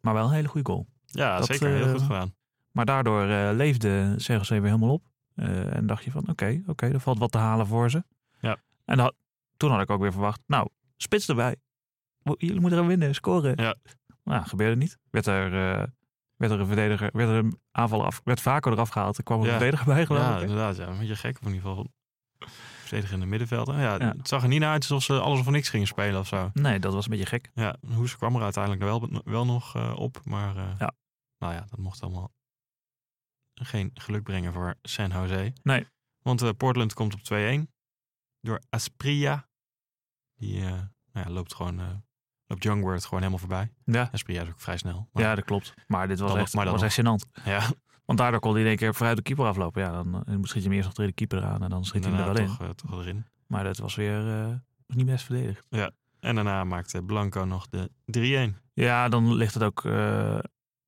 Speaker 1: maar wel een hele goede goal.
Speaker 5: Ja,
Speaker 1: Dat,
Speaker 5: zeker. Heel
Speaker 1: eh,
Speaker 5: goed gedaan.
Speaker 1: Maar daardoor eh, leefde CGC weer helemaal op. Eh, en dacht je van, oké, oké, er valt wat te halen voor ze.
Speaker 5: Ja.
Speaker 1: En dat- toen had ik ook weer verwacht, nou, spits erbij. Mo- Jullie moeten gaan winnen, scoren.
Speaker 5: Ja.
Speaker 1: Nou, gebeurde niet. Werd er, eh, werd er een verdediger, werd er een aanval af, werd Vaco eraf gehaald. Er kwam een
Speaker 5: Ja.
Speaker 1: verdediger bij, geloof
Speaker 5: Ja,
Speaker 1: ik.
Speaker 5: inderdaad. Ja. Een beetje gek op in ieder geval. Verdedigende middenvelden. Ja,
Speaker 1: Ja.
Speaker 5: Het zag er niet naar uit alsof ze alles of niks gingen spelen of zo.
Speaker 1: Nee, dat was een beetje gek.
Speaker 5: Ja, Hoes kwam er uiteindelijk wel, wel nog eh, op. Maar eh,
Speaker 1: Ja.
Speaker 5: nou ja, dat mocht allemaal geen geluk brengen voor San Jose.
Speaker 1: Nee.
Speaker 5: Want eh, Portland komt op 2-1 door Aspria. Die eh, nou ja, loopt gewoon, eh loopt Youngward gewoon helemaal voorbij.
Speaker 1: Ja.
Speaker 5: Aspria is ook vrij snel. maar-
Speaker 1: Ja, dat klopt. Maar dit was
Speaker 5: Dan nog,
Speaker 1: echt,
Speaker 5: maar dan
Speaker 1: was echt gênant.
Speaker 5: ja
Speaker 1: Want daardoor kon hij in één keer vooruit de keeper aflopen. Ja, dan, eh, schiet je hem eerst nog tegen de keeper aan en dan schiet hij hem er
Speaker 5: inderdaad,
Speaker 1: wel in.
Speaker 5: toch, eh, toch erin.
Speaker 1: Maar dat was weer eh, niet best verdedigd.
Speaker 5: En daarna maakte Blanco nog de 3-1.
Speaker 1: Ja, dan ligt het ook eh,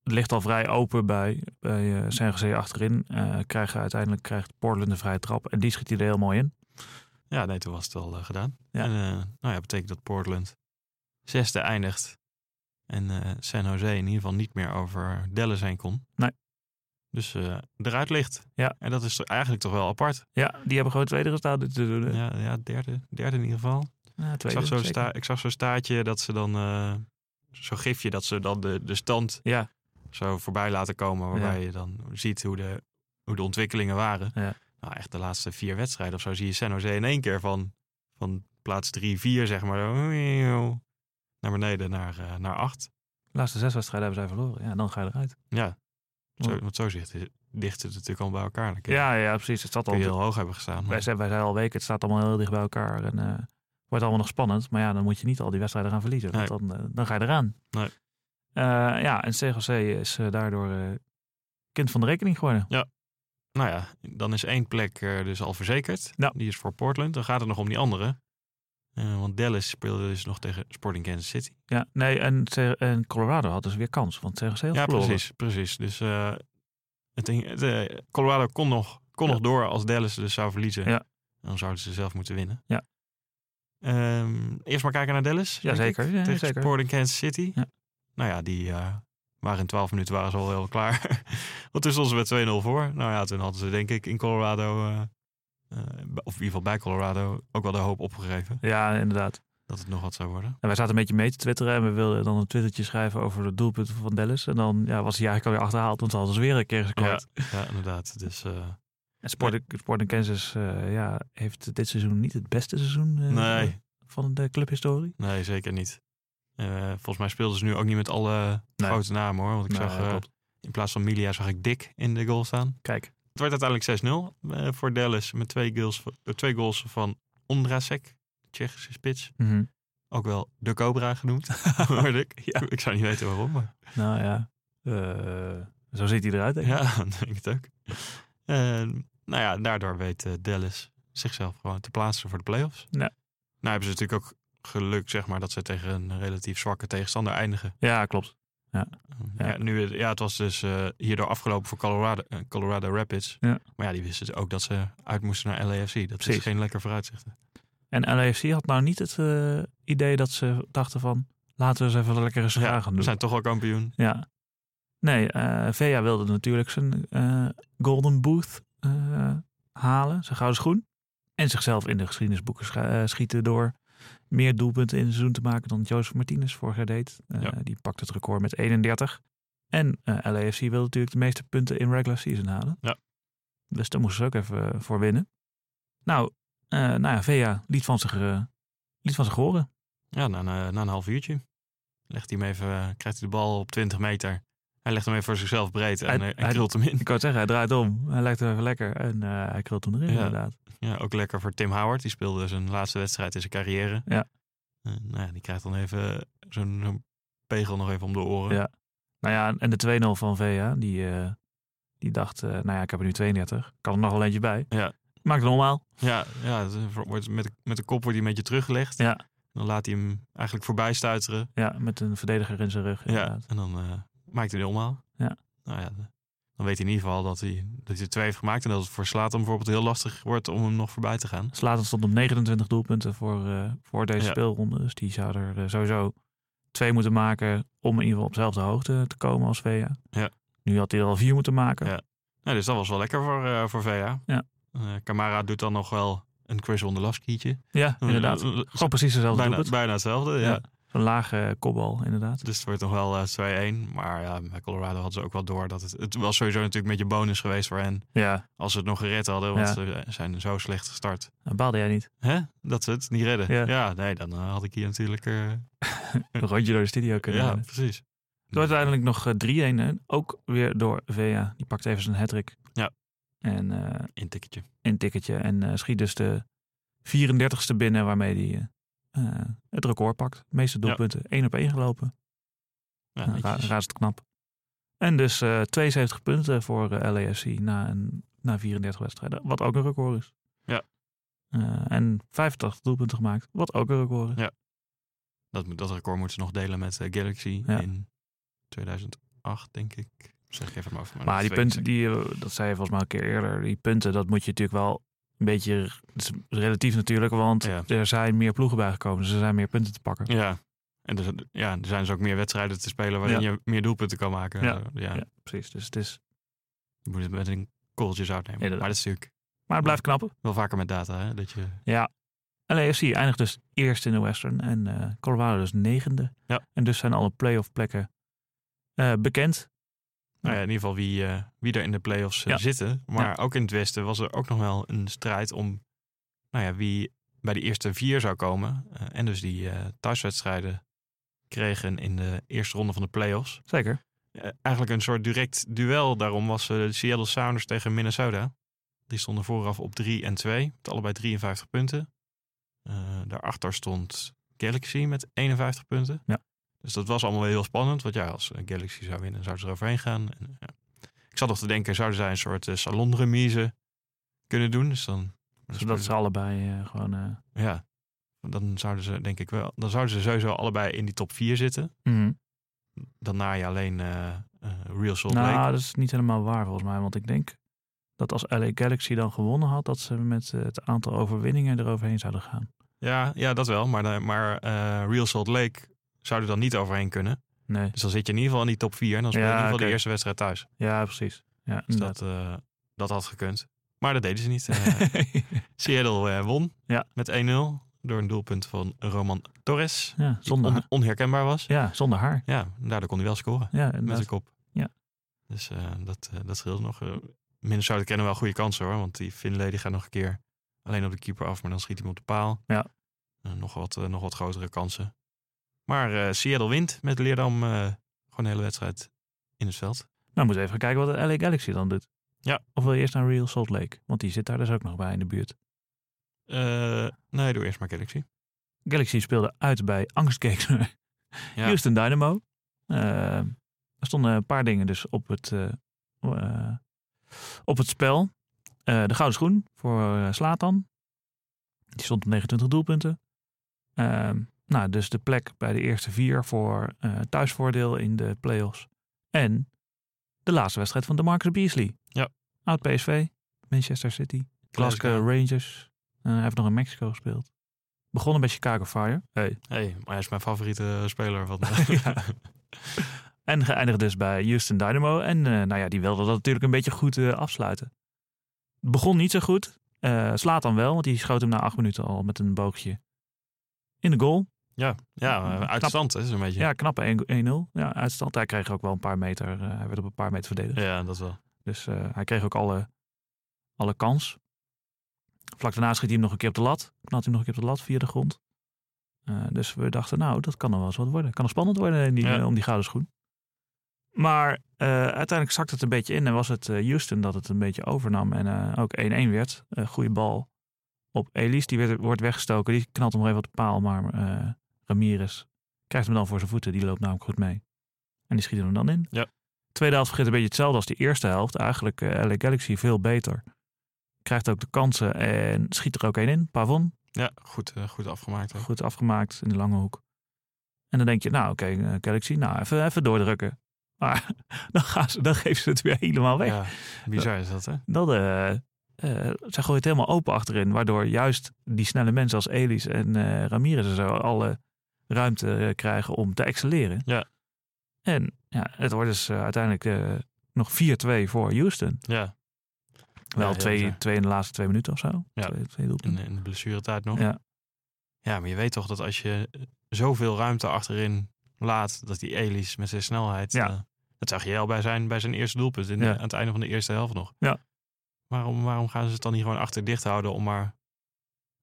Speaker 1: het ligt al vrij open bij, bij eh CNGC achterin. Eh, krijgen, uiteindelijk krijgt Portland een vrije trap en die schiet hij er heel mooi in.
Speaker 5: Ja, nee, toen was het al eh, gedaan.
Speaker 1: Ja.
Speaker 5: En, eh, nou ja, betekent dat Portland zesde eindigt. En eh, San Jose in ieder geval niet meer over Dallas heen kon.
Speaker 1: Nee.
Speaker 5: Dus eh, eruit ligt.
Speaker 1: Ja.
Speaker 5: En dat is toch eigenlijk toch wel apart.
Speaker 1: Ja, die hebben gewoon tweede gestaan dit te doen. hè?
Speaker 5: Ja, ja derde, derde in ieder geval.
Speaker 1: Ja,
Speaker 5: Ik
Speaker 1: tweede,
Speaker 5: zag, zo'n
Speaker 1: zeker.
Speaker 5: sta, ik zag zo'n staartje dat ze dan... eh, zo'n gifje dat ze dan de, de stand
Speaker 1: Ja,
Speaker 5: zo voorbij laten komen. Waarbij
Speaker 1: Ja.
Speaker 5: je dan ziet hoe de, hoe de ontwikkelingen waren.
Speaker 1: Ja.
Speaker 5: Nou, echt de laatste vier wedstrijden of zo zie je San Jose in één keer van, van plaats 3-4, zeg maar. zo, Naar beneden naar, eh, naar 8.
Speaker 1: de laatste zes wedstrijden hebben zij verloren. Ja, dan ga je eruit.
Speaker 5: Ja, zo,
Speaker 1: Ja.
Speaker 5: want zo zit, dicht het natuurlijk allemaal bij elkaar. Dan kun je-
Speaker 1: Ja, ja, precies. Het zat
Speaker 5: kun
Speaker 1: al,
Speaker 5: je heel hoog hebben gestaan. maar-
Speaker 1: wij, zijn, wij zijn al weken, het staat allemaal heel dicht bij elkaar. En eh, wordt allemaal nog spannend. Maar ja, dan moet je niet al die wedstrijden gaan verliezen. Want dan, eh, dan ga je eraan.
Speaker 5: Nee.
Speaker 1: Eh, ja, en CGC is eh, daardoor eh, kind van de rekening geworden.
Speaker 5: Nou ja, dan is één plek eh, dus al verzekerd.
Speaker 1: Ja.
Speaker 5: Die is voor Portland. Dan gaat het nog om die andere. Eh, want Dallas speelde dus nog tegen Sporting Kansas City.
Speaker 1: Ja, nee, en, Ser- en Colorado had dus weer kans, want CGC had
Speaker 5: ja,
Speaker 1: verloren.
Speaker 5: precies, precies. Dus eh, het, ding- het, eh, Colorado kon, nog, kon
Speaker 1: Ja.
Speaker 5: nog door als Dallas dus zou verliezen.
Speaker 1: Ja.
Speaker 5: Dan zouden ze zelf moeten winnen.
Speaker 1: Ja.
Speaker 5: Ehm, eerst maar kijken naar Dallas.
Speaker 1: Ja,
Speaker 5: denk
Speaker 1: zeker.
Speaker 5: ik.
Speaker 1: Ja,
Speaker 5: Tegen
Speaker 1: zeker.
Speaker 5: Sporting Kansas City.
Speaker 1: Ja.
Speaker 5: Nou ja, die eh, waren in 12 minuten waren ze al heel klaar. Want toen stonden ze met 2-0 voor. Nou ja, toen hadden ze denk ik in Colorado, eh, eh, of in ieder geval bij Colorado, ook wel de hoop opgegeven
Speaker 1: Ja, inderdaad.
Speaker 5: dat het nog wat zou worden.
Speaker 1: En wij zaten een beetje mee te twitteren en we wilden dan een twittertje schrijven over de doelpunten van Dallas. En dan ja, was hij eigenlijk alweer achterhaald, want ze hadden ze weer een keer gescoord.
Speaker 5: Ja, inderdaad. Dus eh,
Speaker 1: En Sporting, Sporting Kansas eh, ja, heeft dit seizoen niet het beste seizoen eh,
Speaker 5: nee,
Speaker 1: van de clubhistorie.
Speaker 5: Nee, zeker niet. Eh, volgens mij speelden ze nu ook niet met alle
Speaker 1: Nee.
Speaker 5: grote namen hoor. Want ik
Speaker 1: Nee,
Speaker 5: zag, eh,
Speaker 1: klopt.
Speaker 5: in plaats van Milia zag ik Dick in de goal staan.
Speaker 1: Kijk,
Speaker 5: Het werd uiteindelijk 6-0 eh, voor Dallas met twee goals, eh, twee goals van Ondrasek, de Tsjechische spits.
Speaker 1: mhm.
Speaker 5: Ook wel de Cobra genoemd, hoorde ik. Ik zou niet weten waarom, maar
Speaker 1: nou ja, eh, zo ziet hij eruit. Denk ik.
Speaker 5: ja, ik denk het ook. Eh, nou ja, daardoor weet eh, Dallas zichzelf gewoon te plaatsen voor de playoffs.
Speaker 1: Ja.
Speaker 5: Nou hebben ze natuurlijk ook geluk, zeg maar, dat ze tegen een relatief zwakke tegenstander eindigen.
Speaker 1: Ja, klopt.
Speaker 5: Ja,
Speaker 1: Ja.
Speaker 5: nu, ja het was dus eh, hierdoor afgelopen voor Colorado, eh, Colorado Rapids.
Speaker 1: Ja.
Speaker 5: Maar ja, die wisten dus ook dat ze uit moesten naar LAFC. Dat
Speaker 1: Precies.
Speaker 5: is dus geen lekker vooruitzicht.
Speaker 1: En LAFC had nou niet het eh, idee dat ze dachten van, laten we eens even lekker eens Dus
Speaker 5: Ja,
Speaker 1: gaan doen.
Speaker 5: we zijn toch al kampioen.
Speaker 1: Ja. Nee, eh Vea wilde natuurlijk zijn eh, Golden Booth eh, halen, zijn gouden schoen. En zichzelf in de geschiedenisboeken scha- eh, schieten door meer doelpunten in het seizoen te maken dan Jozef Martinez vorig jaar deed. Eh,
Speaker 5: Ja.
Speaker 1: Die pakte het record met 31. En eh LAFC wilde natuurlijk de meeste punten in regular season halen.
Speaker 5: Ja.
Speaker 1: Dus daar moesten ze ook even eh, voor winnen. Nou, Eh, nou ja, Vea liet van zich, eh, liet van zich horen.
Speaker 5: Ja, na, een- eh, na een half uurtje legt hij hem even, eh, krijgt hij de bal op 20 meter. Hij legt hem even voor zichzelf breed en,
Speaker 1: Hij-
Speaker 5: eh, en
Speaker 1: hij-
Speaker 5: krult hem in.
Speaker 1: Ik kan het zeggen, hij draait om. Hij lijkt er even lekker. En eh, hij krult hem erin
Speaker 5: Ja.
Speaker 1: inderdaad.
Speaker 5: Ja, ook lekker voor Tim Howard. Die speelde zijn laatste wedstrijd in zijn carrière.
Speaker 1: Ja.
Speaker 5: Eh, nou ja, die krijgt dan even zo'n zo'n pegel nog even om de oren.
Speaker 1: Ja. Nou ja, en de 2-0 van Vea, die, eh, die dacht, eh, nou ja, ik heb er nu 32. Kan er nog wel eentje bij.
Speaker 5: Ja.
Speaker 1: Maakt het normaal.
Speaker 5: Ja, ja het wordt met, met de kop wordt hij een beetje teruggelegd.
Speaker 1: Ja.
Speaker 5: Dan laat hij hem eigenlijk voorbij stuiteren.
Speaker 1: Ja, met een verdediger in zijn rug
Speaker 5: Ja.
Speaker 1: inderdaad.
Speaker 5: En dan eh, maakt hij de omhaal.
Speaker 1: Ja.
Speaker 5: Nou ja, dan weet hij in ieder geval dat hij, dat hij er twee heeft gemaakt. En dat het voor Slatan bijvoorbeeld heel lastig wordt om hem nog voorbij te gaan.
Speaker 1: Slater Dus stond op 29 doelpunten voor, eh, voor deze
Speaker 5: Ja.
Speaker 1: speelronde. Dus die zou er eh, sowieso twee moeten maken om in ieder geval op dezelfde hoogte te komen als Vea.
Speaker 5: Ja.
Speaker 1: Nu had hij er al vier moeten maken.
Speaker 5: Ja. Nou, dus dat was wel lekker voor, eh voor VA.
Speaker 1: Ja.
Speaker 5: Eh, Kamara doet dan nog wel een Chris Ondelaskietje.
Speaker 1: Ja, inderdaad.
Speaker 5: Eh, eh,
Speaker 1: Gewoon precies dezelfde
Speaker 5: Bijna,
Speaker 1: doelpunt.
Speaker 5: bijna hetzelfde, ja.
Speaker 1: Ja. Een lage kopbal, inderdaad.
Speaker 5: Dus het wordt nog wel eh, 2-1. Maar ja, bij Colorado hadden ze ook wel door. Dat het, het was sowieso natuurlijk met je bonus geweest voor hen.
Speaker 1: Ja,
Speaker 5: Als ze het nog gered hadden, want ze zijn zo slecht gestart.
Speaker 1: dat baalde jij niet.
Speaker 5: Hè? Dat ze het niet redden.
Speaker 1: Ja.
Speaker 5: Ja, nee, dan eh, had ik hier natuurlijk... eh,
Speaker 1: Een rondje door de studio kunnen
Speaker 5: ja,
Speaker 1: rennen.
Speaker 5: precies.
Speaker 1: Het wordt uiteindelijk nog eh, 3-1. hè. Ook weer door Vea. Die pakt even zijn hattrick.
Speaker 5: Ja.
Speaker 1: En eh
Speaker 5: Intikketje.
Speaker 1: een tikketje. En eh, schiet dus de 34ste binnen waarmee hij eh, eh, het record pakt. De meeste doelpunten. 1 op 1 gelopen.
Speaker 5: Ja,
Speaker 1: Nou, ra-
Speaker 5: netjes.
Speaker 1: razend knap. En dus eh 72 punten voor eh, LAFC na, een, na 34 wedstrijden. Wat ook een record is.
Speaker 5: Ja.
Speaker 1: Eh, en 85 doelpunten gemaakt. Wat ook een record is.
Speaker 5: Ja. dat, moet- dat record moeten ze nog delen met eh, Galaxy
Speaker 1: Ja.
Speaker 5: in 2008, denk ik. Zeg ik even maar over.
Speaker 1: Maar die
Speaker 5: dat weet
Speaker 1: punten,
Speaker 5: ik
Speaker 1: die, eh, dat zei je volgens mij een keer eerder, die punten, dat moet je natuurlijk wel een beetje, het is relatief natuurlijk, want
Speaker 5: Ja.
Speaker 1: er zijn meer ploegen bijgekomen, dus er zijn meer punten te pakken.
Speaker 5: zeker. Ja. En er, zijn- ja, er zijn dus ook meer wedstrijden te spelen waarin je meer doelpunten kan maken.
Speaker 1: Ja.
Speaker 5: Eh, ja.
Speaker 1: Ja, precies. Dus het is,
Speaker 5: Je moet het met een kooltjes uitnemen.
Speaker 1: Inderdaad.
Speaker 5: Maar dat is natuurlijk
Speaker 1: maar het blijft knappen.
Speaker 5: wel vaker met data. Hè? Dat je,
Speaker 1: LAFC eindigt dus eerst in de Western en eh, Colorado dus negende.
Speaker 5: Ja.
Speaker 1: En dus zijn alle playoff plekken eh, bekend.
Speaker 5: nou ja, in ieder geval wie, eh, wie er in de play-offs eh,
Speaker 1: Ja.
Speaker 5: zitten. Maar ook in het Westen was er ook nog wel een strijd om nou ja, wie bij de eerste vier zou komen. Eh, en dus die eh, thuiswedstrijden kregen in de eerste ronde van de play-offs.
Speaker 1: Zeker.
Speaker 5: Eh, eigenlijk een soort direct duel daarom was eh, de Seattle Sounders tegen Minnesota. Die stonden vooraf op 3 en 2, met allebei 53 punten. Eh, daarachter stond Galaxy met 51 punten.
Speaker 1: Ja.
Speaker 5: Dus dat was allemaal wel heel spannend, want ja, als eh, Galaxy zou winnen, zouden ze er overheen gaan. En, eh, ja. Ik zat nog te denken, zouden zij een soort eh, salonremise kunnen doen? Dus dan,
Speaker 1: Zodat ze allebei eh, gewoon... eh,
Speaker 5: Ja, dan zouden ze denk ik wel, dan zouden ze sowieso allebei in die top 4 zitten.
Speaker 1: mhm.
Speaker 5: Dan na je alleen eh, eh, Real Salt Lake.
Speaker 1: Nou, dat is niet helemaal waar volgens mij, want ik denk dat als LA Galaxy dan gewonnen had, dat ze met eh, het aantal overwinningen eroverheen zouden gaan.
Speaker 5: Ja, ja dat wel. Maar, de- maar eh, Real Salt Lake zou er dan niet overheen kunnen.
Speaker 1: Nee,
Speaker 5: Dus dan zit je in ieder geval in die top 4. En dan speel je
Speaker 1: Ja,
Speaker 5: in ieder geval
Speaker 1: oké.
Speaker 5: de eerste wedstrijd thuis.
Speaker 1: ja, precies. Ja,
Speaker 5: Dus
Speaker 1: inderdaad.
Speaker 5: dat, eh, dat had gekund. Maar dat deden ze niet. Eh, Seattle eh, won
Speaker 1: Ja.
Speaker 5: met 1-0 door een doelpunt van Roman Torres.
Speaker 1: ja,
Speaker 5: Die
Speaker 1: zonder
Speaker 5: on-
Speaker 1: haar.
Speaker 5: onherkenbaar was.
Speaker 1: Ja, zonder haar.
Speaker 5: Ja, daardoor kon hij wel scoren
Speaker 1: Ja,
Speaker 5: met
Speaker 1: inderdaad.
Speaker 5: zijn kop.
Speaker 1: Ja.
Speaker 5: Dus eh, dat, eh, dat scheelde nog. Eh, Minnesota kennen wel goede kansen hoor. Want die Finlay die gaat nog een keer alleen op de keeper af. Maar dan schiet hij hem op de paal.
Speaker 1: Ja.
Speaker 5: Eh, nog, wat, eh, nog wat grotere kansen. Maar eh, Seattle wint met Leerdam eh, gewoon de hele wedstrijd in het veld.
Speaker 1: Nou, moeten we even gaan kijken wat de LA Galaxy dan doet.
Speaker 5: Ja.
Speaker 1: Of wil je eerst naar Real Salt Lake? Want die zit daar dus ook nog bij in de buurt.
Speaker 5: Eh, nee, doe eerst maar Galaxy.
Speaker 1: Galaxy speelde uit bij angstgekner
Speaker 5: Ja.
Speaker 1: Houston Dynamo. Eh, er stonden een paar dingen dus op het, eh, eh, op het spel. Eh, de gouden schoen voor Slatan. Die stond op 29 doelpunten. Eh, nou, dus de plek bij de eerste vier voor eh, thuisvoordeel in de play-offs. En de laatste wedstrijd van Marcus Beasley.
Speaker 5: Ja.
Speaker 1: Oud PSV, Manchester City, Glasgow
Speaker 5: Glasgow.
Speaker 1: Rangers. Eh, hij heeft nog in Mexico gespeeld. Begonnen bij Chicago Fire.
Speaker 5: Hey, maar hij is mijn favoriete eh, speler. Van,
Speaker 1: Ja. En geëindigd dus bij Houston Dynamo. En eh, nou ja, die wilde dat natuurlijk een beetje goed eh, afsluiten. Het Begon niet zo goed. Eh, slaat dan wel, want die schoot hem na acht minuten al met een boogje in de goal.
Speaker 5: ja, ja uit de
Speaker 1: Knap.
Speaker 5: stand hè, zo'n beetje.
Speaker 1: Ja, knappe 1-0. Ja, uitstand. Hij kreeg ook wel een paar meter. eh, hij werd op een paar meter verdedigd.
Speaker 5: ja, dat wel.
Speaker 1: Dus eh, hij kreeg ook alle, alle kans. Vlak daarna schiet hij hem nog een keer op de lat. Knalt hij hem nog een keer op de lat via de grond. Eh, dus we dachten, nou, dat kan nog wel eens wat worden. Kan nog spannend worden in die,
Speaker 5: Ja.
Speaker 1: eh, om die gouden schoen. Maar eh, uiteindelijk zakte het een beetje in en was het eh, Houston dat het een beetje overnam en eh, ook 1-1 werd. Eh goede bal op Elise, die werd, wordt weggestoken. Die knalt hem nog even op de paal, maar eh Ramirez krijgt hem dan voor zijn voeten. Die loopt namelijk goed mee. En die schieten hem dan in.
Speaker 5: Ja.
Speaker 1: Tweede helft vergeet een beetje hetzelfde als de eerste helft. Eigenlijk eh LA Galaxy veel beter. Krijgt ook de kansen en schiet er ook één in. Pavon,
Speaker 5: Ja, goed, eh, goed afgemaakt. Ook.
Speaker 1: goed afgemaakt in de lange hoek. En dan denk je, nou oké, eh, Galaxy, nou even, even doordrukken. Maar dan, gaan ze, dan geven ze het weer helemaal weg.
Speaker 5: Ja, bizar is dat, hè?
Speaker 1: Dat, eh eh, ze gooien het helemaal open achterin. Waardoor juist die snelle mensen als Elis en eh Ramirez en zo alle ruimte eh, krijgen om te excelleren.
Speaker 5: Ja.
Speaker 1: En ja, het wordt dus eh, uiteindelijk eh, nog 4-2 voor Houston.
Speaker 5: Ja,
Speaker 1: Wel
Speaker 5: heel
Speaker 1: twee,
Speaker 5: bizar.
Speaker 1: twee in de laatste twee minuten of zo.
Speaker 5: Ja.
Speaker 1: Twee, twee doelpunten.
Speaker 5: in, de- in de blessuretijd nog.
Speaker 1: Mm. Ja.
Speaker 5: Ja, maar je weet toch dat als je eh, zoveel ruimte achterin laat, dat die Elis met zijn snelheid...
Speaker 1: Ja.
Speaker 5: eh, dat zag je al bij zijn, bij zijn eerste doelpunt, in de-
Speaker 1: Ja.
Speaker 5: aan het einde van de eerste helft nog.
Speaker 1: Ja.
Speaker 5: Waarom, waarom gaan ze het dan niet gewoon achter dicht houden om maar...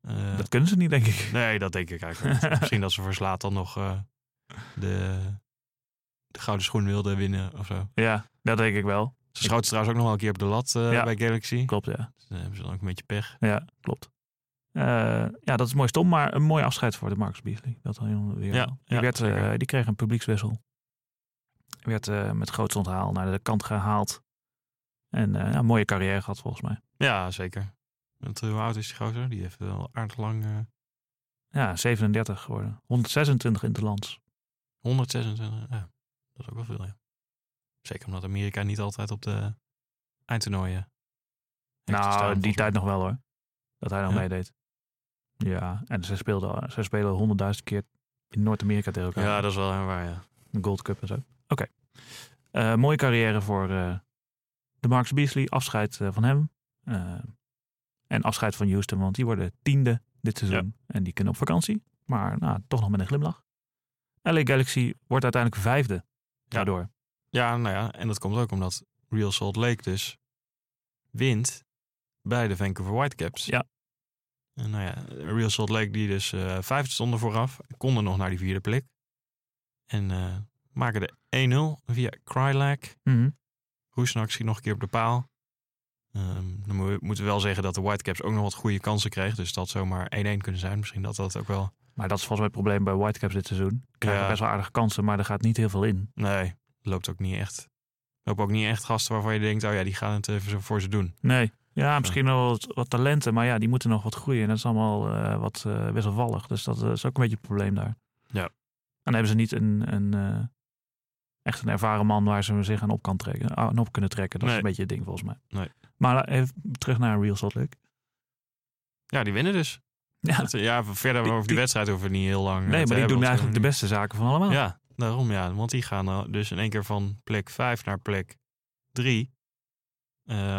Speaker 5: eh,
Speaker 1: Dat kunnen ze niet, denk ik.
Speaker 5: Nee, dat denk ik eigenlijk niet. Misschien dat ze verslaat dan nog eh, de, de gouden schoen wilde winnen of zo.
Speaker 1: Ja, dat denk ik wel.
Speaker 5: Ze schoten trouwens ook nog wel een keer op de lat eh,
Speaker 1: Ja.
Speaker 5: bij Galaxy.
Speaker 1: Klopt, ja.
Speaker 5: Dus dan hebben ze dan ook een beetje pech.
Speaker 1: Ja, klopt. Eh, ja, dat is mooi stom, maar een mooi afscheid voor de Marcus Beasley. Dat dan weer.
Speaker 5: Ja,
Speaker 1: wel. die,
Speaker 5: ja,
Speaker 1: werd, eh,
Speaker 5: zeker.
Speaker 1: die kreeg een publiekswissel. Werd eh, met groot onthaal naar de kant gehaald. En eh, ja, een mooie carrière gehad volgens mij.
Speaker 5: Ja, zeker. Want eh, hoe oud is die gozer? Die heeft wel aardig lang... eh,
Speaker 1: Ja, 37 geworden. 126 in het land.
Speaker 5: 126, ja. Dat is ook wel veel, ja. Zeker omdat Amerika niet altijd op de eindtoernooien... heeft
Speaker 1: Nou,
Speaker 5: gestaan,
Speaker 1: die
Speaker 5: volgens mij.
Speaker 1: tijd nog wel hoor. Dat hij nog
Speaker 5: Ja?
Speaker 1: meedeed. Ja, en ze speelden, ze spelen honderdduizend keer in Noord-Amerika tegen elkaar.
Speaker 5: Ja, dat is wel helemaal waar, ja.
Speaker 1: De Gold Cup en zo. Oké. Eh, mooie carrière voor eh, de Marcus Beasley. Afscheid eh, van hem. Eh, en afscheid van Houston, want die worden tiende dit seizoen. En die kunnen op vakantie. Maar nou, toch nog met een glimlach. LA Galaxy wordt uiteindelijk vijfde. Daardoor.
Speaker 5: Ja, nou ja, en dat komt ook omdat Real Salt Lake dus wint bij de Vancouver Whitecaps.
Speaker 1: Ja.
Speaker 5: En nou ja, Real Salt Lake die dus eh vijfde stonden vooraf, konden nog naar die vierde plek. En eh, maken de 1-0 via Krylak.
Speaker 1: Mhm.
Speaker 5: Roesnak schiet nog een keer op de paal. Ehm, dan mo- moeten we wel zeggen dat de Whitecaps ook nog wat goede kansen kregen. Dus dat zomaar 1-1 kunnen zijn. Misschien dat dat ook wel...
Speaker 1: Maar dat is volgens mij het probleem bij Whitecaps dit seizoen. Krijgen
Speaker 5: Ja.
Speaker 1: best wel aardige kansen, maar er gaat niet heel veel in.
Speaker 5: Nee, loopt ook niet echt... Lopen ook niet echt gasten waarvan je denkt... Oh ja, die gaan het eh, voor ze doen.
Speaker 1: Nee. Ja, misschien wel wat, wat talenten, maar ja, die moeten nog wat groeien. En dat is allemaal eh, wat eh, wisselvallig. Dus dat eh, is ook een beetje het probleem daar.
Speaker 5: Ja.
Speaker 1: En dan hebben ze niet een, een eh, echt een ervaren man waar ze zich aan op, kan trekken, aan op kunnen trekken. Dat
Speaker 5: Nee.
Speaker 1: is een beetje het ding volgens mij.
Speaker 5: Nee.
Speaker 1: Maar eh, even terug naar Real Salt Lake.
Speaker 5: Ja, die winnen dus.
Speaker 1: Ja.
Speaker 5: Dat, ja, verder
Speaker 1: Die-
Speaker 5: over die,
Speaker 1: die-
Speaker 5: wedstrijd hoeven we niet heel lang. eh,
Speaker 1: nee,
Speaker 5: te
Speaker 1: maar die
Speaker 5: hebben,
Speaker 1: doen
Speaker 5: want
Speaker 1: eigenlijk de
Speaker 5: we-
Speaker 1: beste zaken van allemaal.
Speaker 5: Ja, daarom ja. Want die gaan eh, dus in één keer van plek 5 naar plek 3.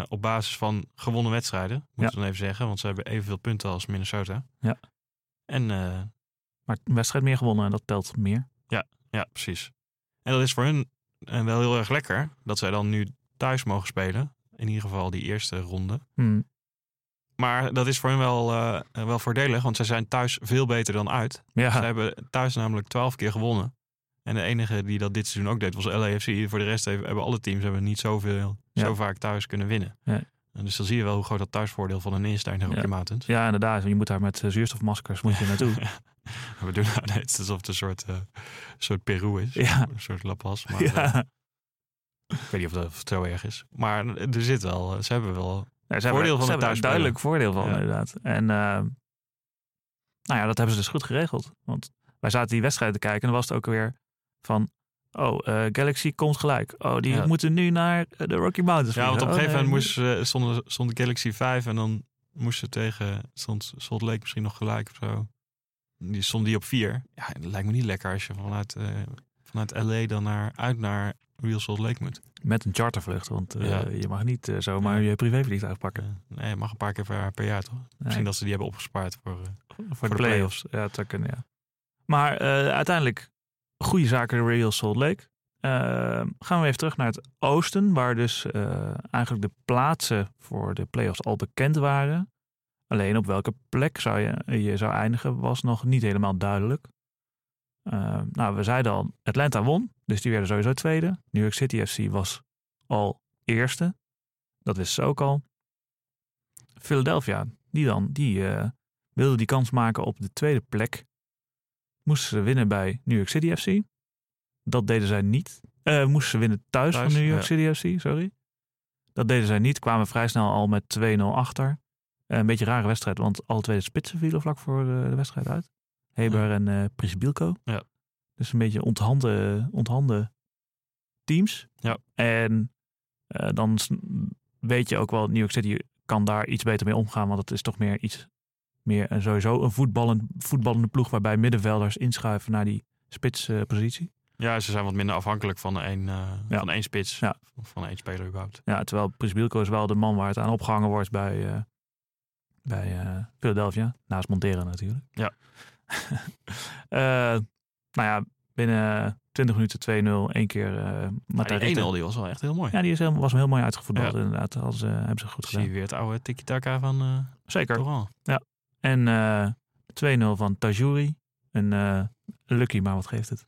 Speaker 5: op basis van gewonnen wedstrijden, moet
Speaker 1: Ja.
Speaker 5: ik dan even zeggen. Want ze hebben evenveel punten als Minnesota.
Speaker 1: Ja.
Speaker 5: En eh,
Speaker 1: Maar een wedstrijd meer gewonnen en dat telt meer.
Speaker 5: ja, precies. En dat is voor hun eh, wel heel erg lekker. Dat zij dan nu thuis mogen spelen. In ieder geval die eerste ronde.
Speaker 1: Hm.
Speaker 5: Maar dat is voor hun wel, eh, wel voordelig. Want zij zijn thuis veel beter dan uit. Ze
Speaker 1: Ja,
Speaker 5: hebben thuis namelijk twaalf keer gewonnen. En de enige die dat dit seizoen ook deed was LAFC. Voor de rest hebben, hebben alle teams hebben niet zoveel,
Speaker 1: Ja.
Speaker 5: zo vaak thuis kunnen winnen.
Speaker 1: Ja.
Speaker 5: En dus dan zie je wel hoe groot dat thuisvoordeel van een is daar op
Speaker 1: Ja.
Speaker 5: de mountains.
Speaker 1: ja, inderdaad. Je moet daar met eh, zuurstofmaskers moet je naartoe.
Speaker 5: We doen nou net alsof het een soort, eh, soort Peru is.
Speaker 1: Ja.
Speaker 5: Een soort La Paz. Maar eh,
Speaker 1: ja.
Speaker 5: ik weet niet of dat of het zo erg is. Maar er zit wel, eh, ze hebben wel...
Speaker 1: Ja, Nou, ze hebben-
Speaker 5: Voordeel van
Speaker 1: ze
Speaker 5: het
Speaker 1: hebben er
Speaker 5: thuisspelen.
Speaker 1: duidelijk voordeel van,
Speaker 5: Ja.
Speaker 1: inderdaad. En eh, nou ja, dat hebben ze dus goed geregeld. Want wij zaten die wedstrijd te kijken en dan was het ook weer van... Oh, eh, Galaxy komt gelijk. Oh, die
Speaker 5: Ja.
Speaker 1: moeten nu naar eh, de Rocky Mountains.
Speaker 5: Ja, want op een
Speaker 1: vliegen.
Speaker 5: gegeven
Speaker 1: Oh,
Speaker 5: moment
Speaker 1: nee.
Speaker 5: moest, eh, stonden- stond Galaxy 5 en dan moest ze tegen... Stond Salt Lake misschien nog gelijk of zo. Die stond die op 4. Ja, dat lijkt me niet lekker als je vanuit, eh, vanuit LA dan naar, uit naar Real Salt Lake moet.
Speaker 1: Met een chartervlucht, want eh,
Speaker 5: Ja.
Speaker 1: je mag niet eh, zomaar je privévliegtuig pakken.
Speaker 5: Eh, Nee, je mag een paar keer per, per jaar toch? Misschien dat ze die hebben opgespaard voor... eh,
Speaker 1: voor de,
Speaker 5: de
Speaker 1: playoffs. Ja, het zou kunnen, ja. Maar eh, uiteindelijk, goede zaken Real Salt Lake. Eh, gaan we even terug naar het oosten, waar dus eh, eigenlijk de plaatsen voor de playoffs al bekend waren. Alleen op welke plek zou je, je zou eindigen was nog niet helemaal duidelijk. Eh, nou, we zeiden al, Atlanta won, dus die werden sowieso tweede. New York City FC was al eerste. Dat wisten ze ook al. Philadelphia, die dan, die eh, wilde die kans maken op de tweede plek. Moesten ze winnen bij New York City FC. Dat deden zij niet. Eh, moesten ze winnen thuis,
Speaker 5: Thuis,
Speaker 1: van New York
Speaker 5: ja.
Speaker 1: City FC, sorry. Dat deden zij niet, kwamen vrij snel al met 2-0 achter. Eh, een beetje een rare wedstrijd, want alle twee de spitsen vielen vlak voor de, de wedstrijd uit. Heber en eh Prisbilko.
Speaker 5: Ja.
Speaker 1: Dus een beetje onthanden, onthanden teams.
Speaker 5: Ja.
Speaker 1: En eh, dan s- weet je ook wel, New York City kan daar iets beter mee omgaan. Want het is toch meer iets meer een, sowieso een voetballend, voetballende ploeg waarbij middenvelders inschuiven naar die spitspositie.
Speaker 5: Ja, ze zijn wat minder afhankelijk van één, eh,
Speaker 1: Ja.
Speaker 5: van één spits.
Speaker 1: Ja.
Speaker 5: Van- Van één speler überhaupt.
Speaker 1: ja, terwijl Prisbilko is wel de man waar het aan opgehangen wordt bij, eh, bij eh, Philadelphia. Naast Montera natuurlijk.
Speaker 5: Ja.
Speaker 1: Eh, nou ja, binnen 20 minuten 2-0. één keer eh
Speaker 5: Maar
Speaker 1: Matthijs
Speaker 5: die 1-0
Speaker 1: Ritten.
Speaker 5: die was wel echt heel mooi.
Speaker 1: Ja, die is helemaal, was heel mooi uitgevoetbald
Speaker 5: Ja.
Speaker 1: inderdaad. Hadden ze- hebben ze goed
Speaker 5: Zie je
Speaker 1: gedaan.
Speaker 5: weer het oude tiki-taka van eh
Speaker 1: Zeker.
Speaker 5: Toran.
Speaker 1: En eh 2-0 van Tajuri. Een eh, lucky, maar wat geeft het?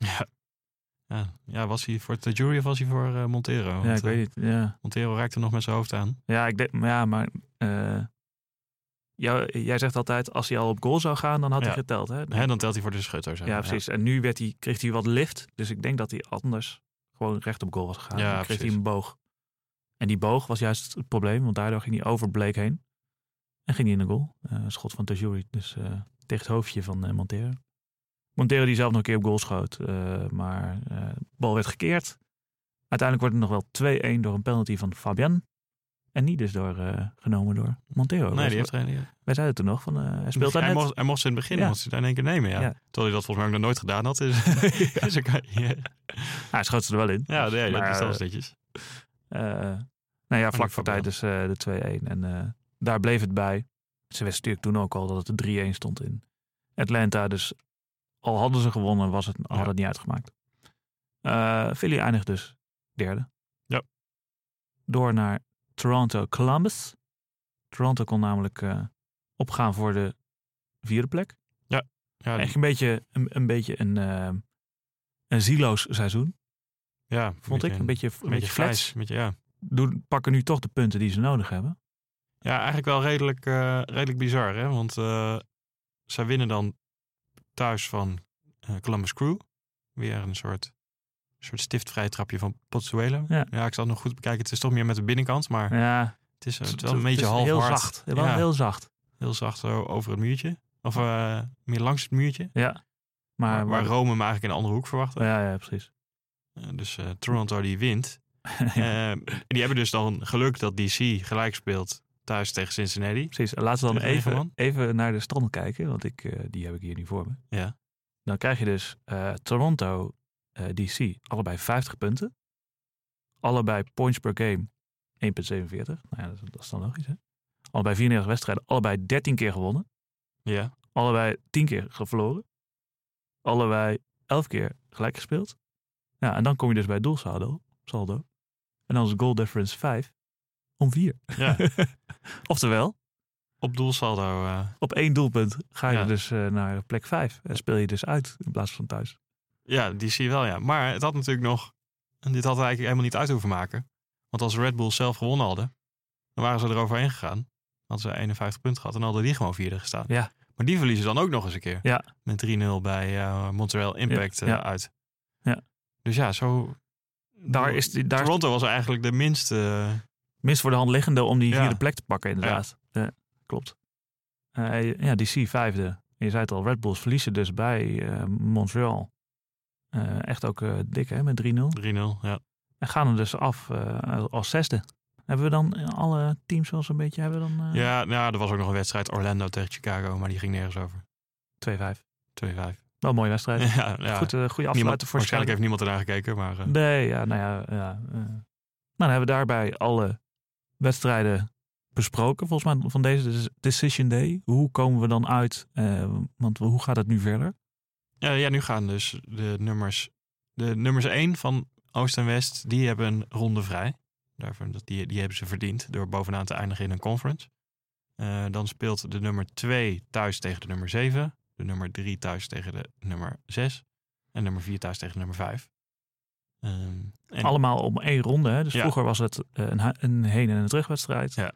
Speaker 5: Ja. ja, was hij voor de jury of was hij voor eh, Montero? Want,
Speaker 1: ja, ik
Speaker 5: eh,
Speaker 1: weet niet. Ja.
Speaker 5: Montero raakte nog met zijn hoofd aan.
Speaker 1: Ja, ik denk, ja maar eh, jou, jij zegt altijd, als hij al op goal zou gaan, dan had hij
Speaker 5: Ja.
Speaker 1: geteld. Hè?
Speaker 5: Hè, dan telt hij voor de schutter. zeg
Speaker 1: Ja,
Speaker 5: maar.
Speaker 1: precies. En nu werd hij, kreeg hij wat lift. Dus ik denk dat hij anders gewoon recht op goal was gegaan.
Speaker 5: Ja,
Speaker 1: Dan kreeg
Speaker 5: precies.
Speaker 1: hij een boog. En die boog was juist het probleem, want daardoor ging hij over Blake heen. En ging hij in de goal. Eh, Een schot van Tajuri, dus eh, tegen het hoofdje van eh Montero. Montero die zelf nog een keer op goal schoot, eh, maar eh, de bal werd gekeerd. Uiteindelijk wordt het nog wel 2-1 door een penalty van Fabian. En niet dus door, eh, genomen door Montero.
Speaker 5: Nee,
Speaker 1: Wij-
Speaker 5: die heeft er een- die-
Speaker 1: Wij zeiden toen nog, van, eh, hij speelt daar
Speaker 5: hij,
Speaker 1: net.
Speaker 5: mocht, hij mocht ze in het begin,
Speaker 1: Ja.
Speaker 5: mocht ze daar in één keer nemen. Ja.
Speaker 1: Ja.
Speaker 5: Terwijl hij dat volgens mij ook nog nooit gedaan had. Dus, dus dan kan je-
Speaker 1: Ah, Hij schoot ze er wel in.
Speaker 5: ja, nee, dat
Speaker 1: Maar,
Speaker 5: is wel
Speaker 1: eh,
Speaker 5: eens netjes.
Speaker 1: Eh, nou ja, vlak voor
Speaker 5: Fabian.
Speaker 1: tijd dus eh, de 2-1. En eh, daar bleef het bij. Ze wisten natuurlijk toen ook al dat het de 3-1 stond in Atlanta. Dus al hadden ze gewonnen, was het, had het niet uitgemaakt. Eh Philly eindigt dus derde.
Speaker 5: Ja.
Speaker 1: Door naar Toronto Columbus. Toronto kon namelijk eh, opgaan voor de vierde plek.
Speaker 5: Ja, die-
Speaker 1: Echt een beetje een, een, beetje een, eh, een zieloos seizoen,
Speaker 5: ja,
Speaker 1: vond ik. Een beetje, een beetje, flats.
Speaker 5: vlees, een beetje- ja.
Speaker 1: Doen, pakken nu toch de punten die ze nodig hebben.
Speaker 5: ja, eigenlijk wel redelijk, eh, redelijk bizar. Hè? Want eh, zij winnen dan thuis van eh, Columbus Crew. Weer een soort, soort stiftvrij trapje van Pozzuelo.
Speaker 1: Ja.
Speaker 5: ik zal het nog goed bekijken. Het is toch meer met de binnenkant, maar
Speaker 1: Ja,
Speaker 5: het is, eh,
Speaker 1: het
Speaker 5: het
Speaker 1: is
Speaker 5: is wel een beetje half
Speaker 1: heel zacht. Wel
Speaker 5: Ja.
Speaker 1: heel zacht.
Speaker 5: Heel zacht zo over het muurtje. Of eh, meer langs het muurtje.
Speaker 1: Ja. Maar,
Speaker 5: waar, waar Rome hem eigenlijk in een andere hoek verwachtte.
Speaker 1: ja, ja, precies.
Speaker 5: Eh, Dus eh, Toronto die wint. Eh, die hebben dus dan geluk dat DC gelijk speelt thuis tegen Cincinnati.
Speaker 1: precies. Laten we dan
Speaker 5: Tegen
Speaker 1: even,
Speaker 5: Egerman?
Speaker 1: even naar de stand kijken, want ik, eh, die heb ik hier nu voor me.
Speaker 5: Ja.
Speaker 1: Dan krijg je dus eh, Toronto, eh, DC, allebei 50 punten. Allebei points per game 1,47. Nou ja, dat, is- dat is dan logisch, hè? Allebei 94 wedstrijden, allebei 13 keer gewonnen.
Speaker 5: Ja.
Speaker 1: Allebei 10 keer ge- verloren. Allebei 11 keer gelijk gespeeld. Ja, en dan kom je dus bij doelsaldo. Saldo. En dan is goal difference 5 om 4.
Speaker 5: ja.
Speaker 1: Oftewel,
Speaker 5: Op doelsaldo. eh,
Speaker 1: op één doelpunt ga je
Speaker 5: Ja.
Speaker 1: dus eh, naar plek 5. En speel je dus uit in plaats van thuis.
Speaker 5: ja, DC wel ja. Maar het had natuurlijk nog... En dit had er eigenlijk helemaal niet uit hoeven maken. Want als Red Bull zelf gewonnen hadden, dan waren ze er overheen gegaan. Hadden ze 51 punten gehad en hadden die gewoon vierde gestaan.
Speaker 1: Ja.
Speaker 5: Maar die verliezen dan ook nog eens een keer.
Speaker 1: Ja.
Speaker 5: Met 3-0 bij eh, Montreal Impact
Speaker 1: Ja,
Speaker 5: eh,
Speaker 1: ja.
Speaker 5: uit.
Speaker 1: Ja.
Speaker 5: Dus ja, zo...
Speaker 1: Daar is, die- daar is
Speaker 5: Toronto was eigenlijk de minste... eh,
Speaker 1: minst voor de hand liggende om die
Speaker 5: Ja.
Speaker 1: vierde plek te pakken, inderdaad. Ja, klopt. Eh, ja, DC vijfde. Je zei het al, Red Bulls verliezen dus bij eh, Montreal. Eh, echt ook eh, dik, hè, met 3-0.
Speaker 5: 3-0, ja.
Speaker 1: En gaan er dus af eh, als zesde. Hebben we dan in alle teams wel zo'n beetje? Hebben we dan eh,
Speaker 5: Ja, nou, er was ook nog een wedstrijd Orlando tegen Chicago, maar die ging nergens over.
Speaker 1: 2-5?
Speaker 5: 2-5. Ja,
Speaker 1: Wel een mooie wedstrijd.
Speaker 5: ja.
Speaker 1: Goed, eh goede
Speaker 5: niemand,
Speaker 1: afsluiter voor
Speaker 5: waarschijnlijk
Speaker 1: Chicago.
Speaker 5: heeft niemand ernaar gekeken, maar eh,
Speaker 1: Nee, ja, nou ja. ja eh. Nou, dan hebben we daarbij alle wedstrijden besproken, volgens mij, van deze des- Decision Day. Hoe komen we dan uit? eh, want hoe gaat het nu verder?
Speaker 5: ja, ja, nu gaan dus de nummers, de nummers 1 van Oost en West, die hebben een ronde vrij. Daarvan, dat- die, die hebben ze verdiend door bovenaan te eindigen in een conference. Eh, dan speelt de nummer 2 thuis tegen de nummer 7. De nummer 3 thuis tegen de nummer 6. En nummer 4 thuis tegen de nummer 5. en
Speaker 1: Allemaal om één ronde. Hè? Dus
Speaker 5: Ja.
Speaker 1: vroeger was het eh, een, hu- een heen- en een terugwedstrijd.
Speaker 5: Ja.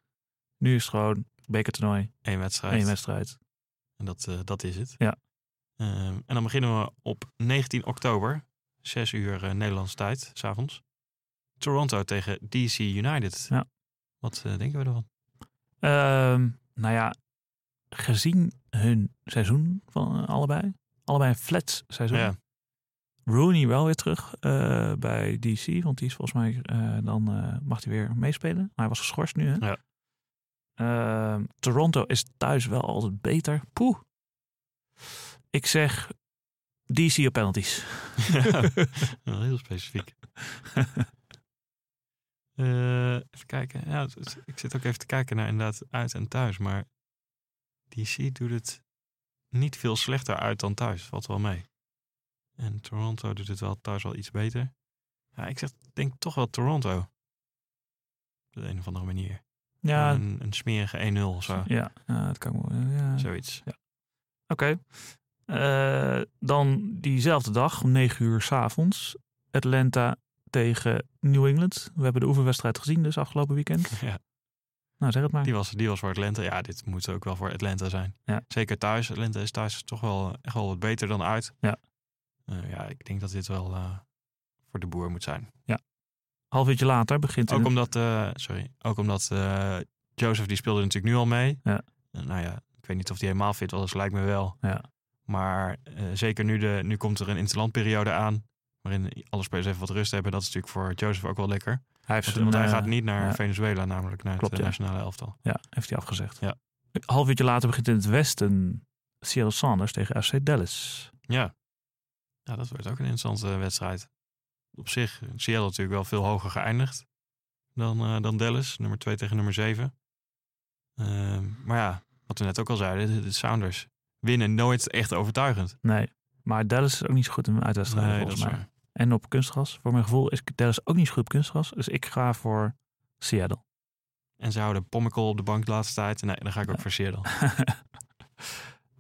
Speaker 1: Nu is het gewoon bekertoernooi,
Speaker 5: één wedstrijd.
Speaker 1: één wedstrijd.
Speaker 5: En dat, eh, dat is het.
Speaker 1: Ja.
Speaker 5: Ehm, en dan beginnen we op 19 oktober, 6 uur eh, Nederlandse Nederlands tijd, s'avonds. Toronto tegen DC United.
Speaker 1: Ja.
Speaker 5: Wat eh, denken we ervan?
Speaker 1: Ehm, nou ja, gezien hun seizoen van eh, allebei. Allebei een flat seizoen.
Speaker 5: Ja,
Speaker 1: Rooney wel weer terug eh, bij DC. Want die is volgens mij, eh, dan eh, mag hij weer meespelen. Maar hij was geschorst nu, hè?
Speaker 5: Ja.
Speaker 1: Ehm, Toronto is thuis wel altijd beter. Poeh. Ik zeg DC op penalties.
Speaker 5: wel heel specifiek. Eh, even kijken. Ja, het- het- ik zit ook even te kijken naar inderdaad uit en thuis. Maar DC doet het niet veel slechter uit dan thuis. Valt wel mee. En Toronto doet het wel thuis wel iets beter. Ja, ik zeg, denk toch wel Toronto. Op de een of andere manier.
Speaker 1: ja,
Speaker 5: Een, een smerige 1-0 of zo.
Speaker 1: ja, ja, dat kan ik wel. Ja. Oké.
Speaker 5: Zoiets.
Speaker 1: Eh, dan diezelfde dag, om 9 uur 's avonds. Atlanta tegen New England. We hebben de oefenwedstrijd gezien dus afgelopen weekend.
Speaker 5: Ja.
Speaker 1: Nou, zeg het maar.
Speaker 5: Die was, die was voor Atlanta. Ja, dit moet ook wel voor Atlanta zijn.
Speaker 1: Ja.
Speaker 5: Zeker thuis. Atlanta is thuis toch wel echt wel wat beter dan uit.
Speaker 1: Ja.
Speaker 5: Eh, ja, ik denk dat dit wel eh, voor de boer moet zijn.
Speaker 1: Half uurtje later begint in
Speaker 5: Ook
Speaker 1: het-
Speaker 5: omdat, eh, sorry, ook omdat eh, Joseph die speelde natuurlijk nu al mee.
Speaker 1: Ja.
Speaker 5: Eh, nou ja, ik weet niet of hij helemaal fit was. dus lijkt me wel.
Speaker 1: Ja.
Speaker 5: Maar eh, zeker nu, de, nu komt er een interlandperiode aan. Waarin alle spelers even wat rust hebben. Dat is natuurlijk voor Joseph ook wel lekker.
Speaker 1: Hij heeft
Speaker 5: Want, want hij
Speaker 1: eh,
Speaker 5: gaat niet naar
Speaker 1: ja.
Speaker 5: Venezuela, namelijk naar
Speaker 1: Klopt,
Speaker 5: het
Speaker 1: ja.
Speaker 5: eh, nationale elftal.
Speaker 1: Ja, heeft hij afgezegd.
Speaker 5: Ja.
Speaker 1: Een half uurtje later begint in het westen Seattle Sanders tegen FC Dallas.
Speaker 5: Ja. ja, dat wordt ook een interessante eh, wedstrijd. Op zich, eh, Seattle natuurlijk wel veel hoger geëindigd dan, eh, dan Dallas. Nummer 2 tegen nummer 7. maar ja, wat we net ook al zeiden, de, de Sounders winnen nooit echt overtuigend.
Speaker 1: Nee, maar Dallas is ook niet zo goed in uitwedstrijden volgens mij.
Speaker 5: waar.
Speaker 1: En op kunstgras. Voor mijn gevoel is Dallas ook niet zo goed op kunstgras. Dus ik ga voor Seattle.
Speaker 5: En ze houden Pommekel op de bank de laatste tijd. Nee, dan ga ik ook voor Seattle.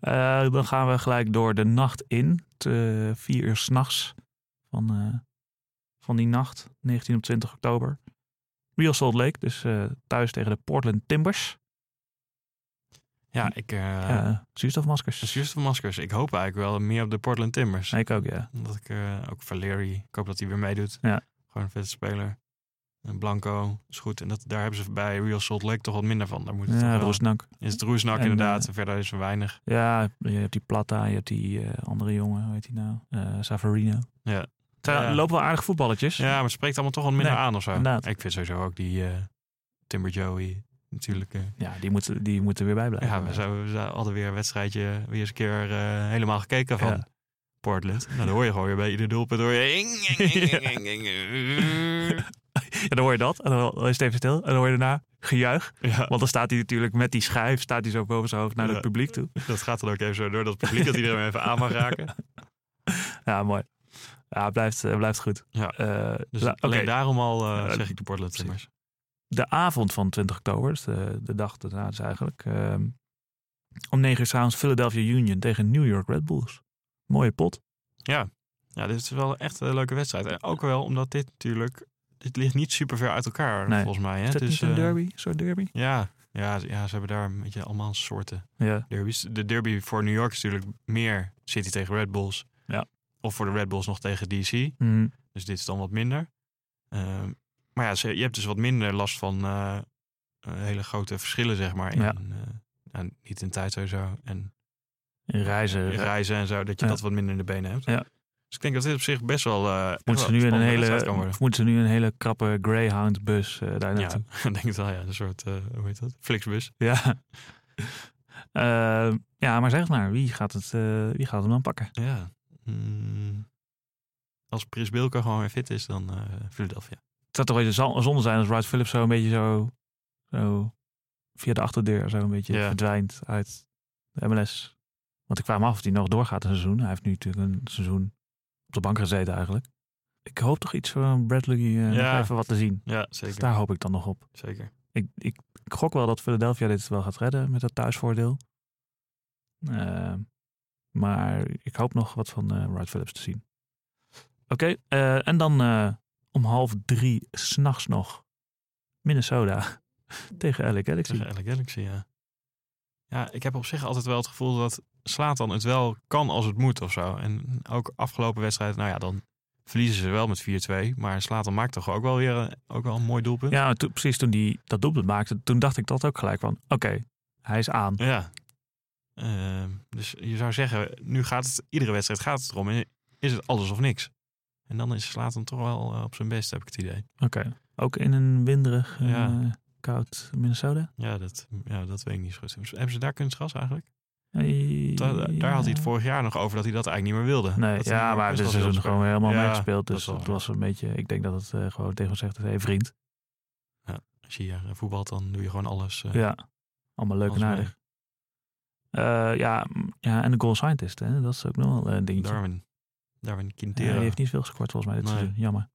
Speaker 1: Eh, dan gaan we gelijk door de nacht in. Te vier uur s'nachts van, eh, van die nacht, 19 op 20 oktober. Real Salt Lake, dus eh, thuis tegen de Portland Timbers.
Speaker 5: Ja, ik... eh
Speaker 1: Ja. zuurstofmaskers.
Speaker 5: dus juist van maskers. Ik hoop eigenlijk wel meer op de Portland Timbers.
Speaker 1: Nee, ik ook, ja.
Speaker 5: Omdat ik eh, ook Valeri, ik hoop dat hij weer meedoet.
Speaker 1: Ja.
Speaker 5: Gewoon een vette speler. En Blanco is goed. En dat, daar hebben ze bij Real Salt Lake toch wat minder van. Daar moet het
Speaker 1: Ja,
Speaker 5: toch wel-
Speaker 1: Roosnak.
Speaker 5: Is het Roesnak
Speaker 1: En,
Speaker 5: inderdaad.
Speaker 1: eh,
Speaker 5: En verder is er weinig.
Speaker 1: Ja, je hebt die Plata, je hebt die eh, andere jongen, hoe heet die nou? Eh Savarino.
Speaker 5: Ja.
Speaker 1: Het zijn-
Speaker 5: Ja.
Speaker 1: er lopen wel aardig voetballetjes.
Speaker 5: Ja, maar het spreekt allemaal toch wat minder
Speaker 1: Nee,
Speaker 5: aan of zo.
Speaker 1: inderdaad.
Speaker 5: Ik vind sowieso ook die eh, Timber Joey natuurlijk. eh,
Speaker 1: Ja, die moeten, die moeten weer bij blijven.
Speaker 5: ja, we, zijn, we zijn- hadden weer een wedstrijdje weer eens een keer eh, helemaal gekeken van
Speaker 1: Ja.
Speaker 5: Portland. Nou, dan hoor je gewoon weer bij ieder doelpunt. Hoor je... ing, ing, ing, ing, ing, ing, ing.
Speaker 1: Ja, dan hoor je dat en dan is het even stil. En dan hoor je daarna gejuich.
Speaker 5: Ja.
Speaker 1: Want dan staat hij natuurlijk met die schijf, staat hij zo boven zijn hoofd naar
Speaker 5: Ja.
Speaker 1: het publiek toe.
Speaker 5: Dat gaat dan ook even zo door dat publiek dat iedereen even aan mag raken.
Speaker 1: Ja, mooi. Ja, het blijft, eh, blijft goed.
Speaker 5: Ja.
Speaker 1: Eh,
Speaker 5: Dus
Speaker 1: la-
Speaker 5: alleen
Speaker 1: oké.
Speaker 5: daarom al eh,
Speaker 1: Ja,
Speaker 5: zeg ik de Portland Timbers.
Speaker 1: de avond van 20 oktober, dus de, de dag daarna dus eigenlijk. ehm, om 9 uur s'avonds Philadelphia Union tegen New York Red Bulls. Mooie pot.
Speaker 5: Ja, dit is wel echt een leuke wedstrijd. En ook wel omdat dit natuurlijk... Dit ligt niet super ver uit elkaar,
Speaker 1: Nee.
Speaker 5: volgens mij. Hè?
Speaker 1: Is dat
Speaker 5: dus,
Speaker 1: niet een
Speaker 5: eh,
Speaker 1: derby? Een soort derby?
Speaker 5: ja, ja, ze- ja, ze hebben daar een beetje allemaal soorten
Speaker 1: Ja.
Speaker 5: derbies. De derby voor New York is natuurlijk meer City tegen Red Bulls.
Speaker 1: Ja.
Speaker 5: Of voor de Red Bulls nog tegen DC.
Speaker 1: Mhm.
Speaker 5: Dus dit is dan wat minder. Ehm, maar ja, ze- je hebt dus wat minder last van eh, eh, hele grote verschillen, zeg maar. In,
Speaker 1: Ja.
Speaker 5: eh, nou, niet in tijd sowieso. En
Speaker 1: In reizen.
Speaker 5: reizen en zo, dat je
Speaker 1: Ja.
Speaker 5: dat wat minder in de benen hebt.
Speaker 1: Ja.
Speaker 5: Dus ik denk dat dit op zich best wel. eh, echt wel
Speaker 1: Moeten ze, nu in een
Speaker 5: spannende wedstrijd
Speaker 1: hele,
Speaker 5: kan worden.
Speaker 1: moeten ze nu een hele krappe Greyhound bus eh daar
Speaker 5: Ja,
Speaker 1: naartoe?
Speaker 5: ik denk het wel, ja. Een soort, eh, hoe heet dat? Flixbus.
Speaker 1: Ja. Eh, ja, maar zeg het maar, wie gaat, het, eh, wie gaat hem dan pakken?
Speaker 5: Ja. Mm. Als Pris Bilko gewoon weer fit is, dan eh Philadelphia.
Speaker 1: Het zou toch wel eens een zonde zijn als Wright Phillips zo een beetje zo, zo via de achterdeur zo een beetje
Speaker 5: Ja.
Speaker 1: verdwijnt uit de MLS. Want ik vraag me af of hij nog doorgaat een seizoen. Hij heeft nu natuurlijk een seizoen op de bank gezeten eigenlijk. Ik hoop toch iets van Bradley eh, nog
Speaker 5: Ja.
Speaker 1: even wat te zien.
Speaker 5: Ja,
Speaker 1: Dus
Speaker 5: zeker.
Speaker 1: daar hoop ik dan nog op.
Speaker 5: Zeker.
Speaker 1: Ik, ik gok wel dat Philadelphia dit wel gaat redden met dat thuisvoordeel. Eh, maar ik hoop nog wat van eh Wright Phillips te zien. Oké, eh, en dan eh, om half drie s'nachts nog Minnesota tegen LA Galaxy.
Speaker 5: Tegen LA Galaxy, ja. Ja, ik heb op zich altijd wel het gevoel dat Slatan het wel kan als het moet of zo. En ook afgelopen wedstrijd, nou ja, dan verliezen ze wel met 4-2. Maar Slatan maakt toch ook wel weer eh, ook wel een mooi doelpunt.
Speaker 1: Ja, maar toen- precies toen hij dat doelpunt maakte, toen dacht ik dat ook gelijk van, oké, hij is aan.
Speaker 5: Ja. Ehm, dus je zou zeggen, nu gaat het, iedere wedstrijd gaat het erom. En is het alles of niks? En dan is Slatan toch wel eh, op zijn best, heb ik het idee.
Speaker 1: Oké. Ook in een winderig, eh,
Speaker 5: Ja.
Speaker 1: koud Minnesota?
Speaker 5: Ja dat, ja, dat weet ik niet zo goed. Hebben ze daar kunstgras eigenlijk?
Speaker 1: Eh,
Speaker 5: Da- Daar had hij het vorig jaar nog over dat hij dat eigenlijk niet meer wilde.
Speaker 1: Nee,
Speaker 5: Dat hij
Speaker 1: ja,
Speaker 5: meer
Speaker 1: maar dit
Speaker 5: kunstgras
Speaker 1: is
Speaker 5: wilde
Speaker 1: hem
Speaker 5: spelen.
Speaker 1: gewoon helemaal
Speaker 5: Ja,
Speaker 1: meegespeeld. Dus
Speaker 5: dat
Speaker 1: het
Speaker 5: wel.
Speaker 1: was een beetje, ik denk dat het eh, gewoon tegen hem zegt, hé hey, vriend.
Speaker 5: Als je hier eh, voetbalt, dan doe je gewoon alles. eh,
Speaker 1: Ja, allemaal leuk
Speaker 5: alles
Speaker 1: en
Speaker 5: mee.
Speaker 1: aardig. Eh, ja, mm, ja, en de goal scientist, hè? dat is ook nog wel eh, een dingetje.
Speaker 5: Darwin. Darwin
Speaker 1: Eh,
Speaker 5: Quintero.
Speaker 1: die heeft niet veel gescoord volgens mij dit
Speaker 5: Nee.
Speaker 1: seizoen, jammer.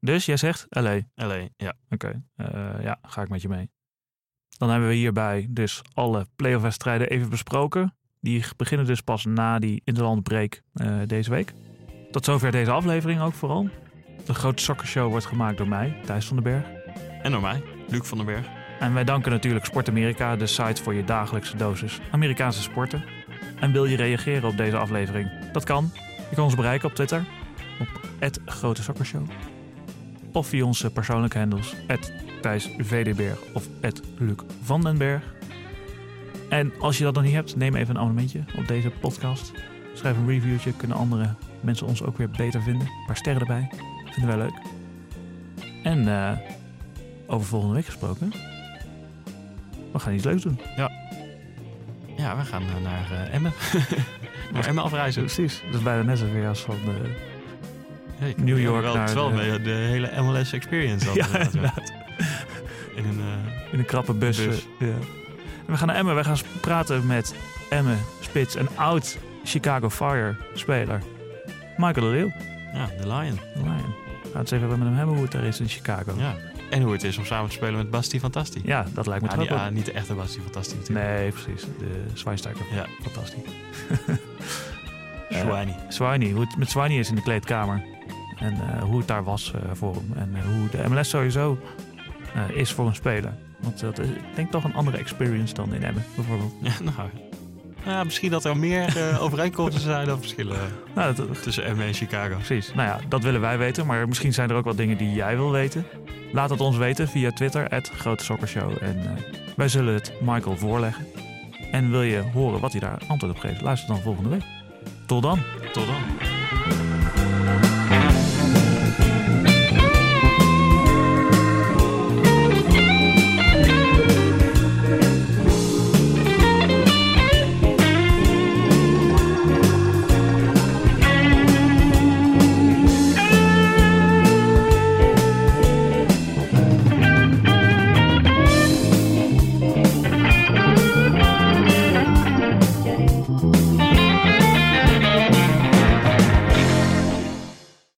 Speaker 1: Dus jij zegt, LA.
Speaker 5: LA, ja.
Speaker 1: Oké, eh, ja, ga ik met je mee. Dan hebben we hierbij dus alle playoff wedstrijden even besproken. Die beginnen dus pas na die interlandbreak eh deze week. Tot zover deze aflevering ook vooral. De grote sokkershow wordt gemaakt door mij, Thijs van den Berg.
Speaker 5: En door mij, Luc van den Berg.
Speaker 1: En wij danken natuurlijk Sport Amerika, de site voor je dagelijkse dosis Amerikaanse sporten. En wil je reageren op deze aflevering? Dat kan. Je kan ons bereiken op Twitter op Grote Sokkershow. Of via onze persoonlijke handles Thijs VDberg of Luc van den Berg. En als je dat nog niet hebt, neem even een abonnementje op deze podcast. Schrijf een reviewtje, kunnen andere mensen ons ook weer beter vinden. Een paar sterren erbij, vinden wij leuk. En eh, over volgende week gesproken, we gaan iets leuks doen.
Speaker 5: Ja, we gaan eh, naar eh, Emmen. naar Emmen afreizen.
Speaker 1: Precies. Dat is bijna net zo weer als van... eh,
Speaker 5: Hey,
Speaker 1: New York
Speaker 5: wel,
Speaker 1: naar
Speaker 5: het is wel
Speaker 1: de-
Speaker 5: de... de hele MLS experience. dan,
Speaker 1: ja,
Speaker 5: inderdaad, ja.
Speaker 1: inderdaad.
Speaker 5: In een eh,
Speaker 1: In een krappe bus.
Speaker 5: Bus.
Speaker 1: eh, Ja. En we gaan naar Emmen. We gaan s- praten met Emmen, spits en oud Chicago Fire speler. Michael de Leeuw.
Speaker 5: ja, de Lion.
Speaker 1: Lion. We gaan het eens even met hem hebben hoe het daar is in Chicago. Ja,
Speaker 5: Ja. En hoe het is om samen te spelen met Basti Fantasti.
Speaker 1: dat lijkt me
Speaker 5: Nou,
Speaker 1: toch
Speaker 5: die,
Speaker 1: ook wel-
Speaker 5: ah, niet de echte Basti Fantasti natuurlijk.
Speaker 1: Nee, precies. De Zwijnstaker.
Speaker 5: Ja.
Speaker 1: Fantastisch. Eh,
Speaker 5: Nee.
Speaker 1: Swiney, hoe het met Swiney is in de kleedkamer. En eh, hoe het daar was eh, voor hem. En eh, hoe de MLS sowieso eh, is voor een speler. Want dat is, ik denk toch een andere experience dan in Emmen, bijvoorbeeld.
Speaker 5: Ja, nou. Ja, misschien dat er meer eh, overeenkomsten zijn dan verschillen
Speaker 1: Nou, dat, dat-
Speaker 5: tussen Emmen en Chicago.
Speaker 1: precies. Nou ja, dat willen wij weten. Maar misschien zijn er ook wat dingen die jij wil weten. Laat het ons weten via Twitter, at Grote Sokkershow. En eh, wij zullen het Michael voorleggen. En wil je horen wat hij daar antwoord op geeft, luister dan volgende week. Tot dan!
Speaker 5: Tot dan.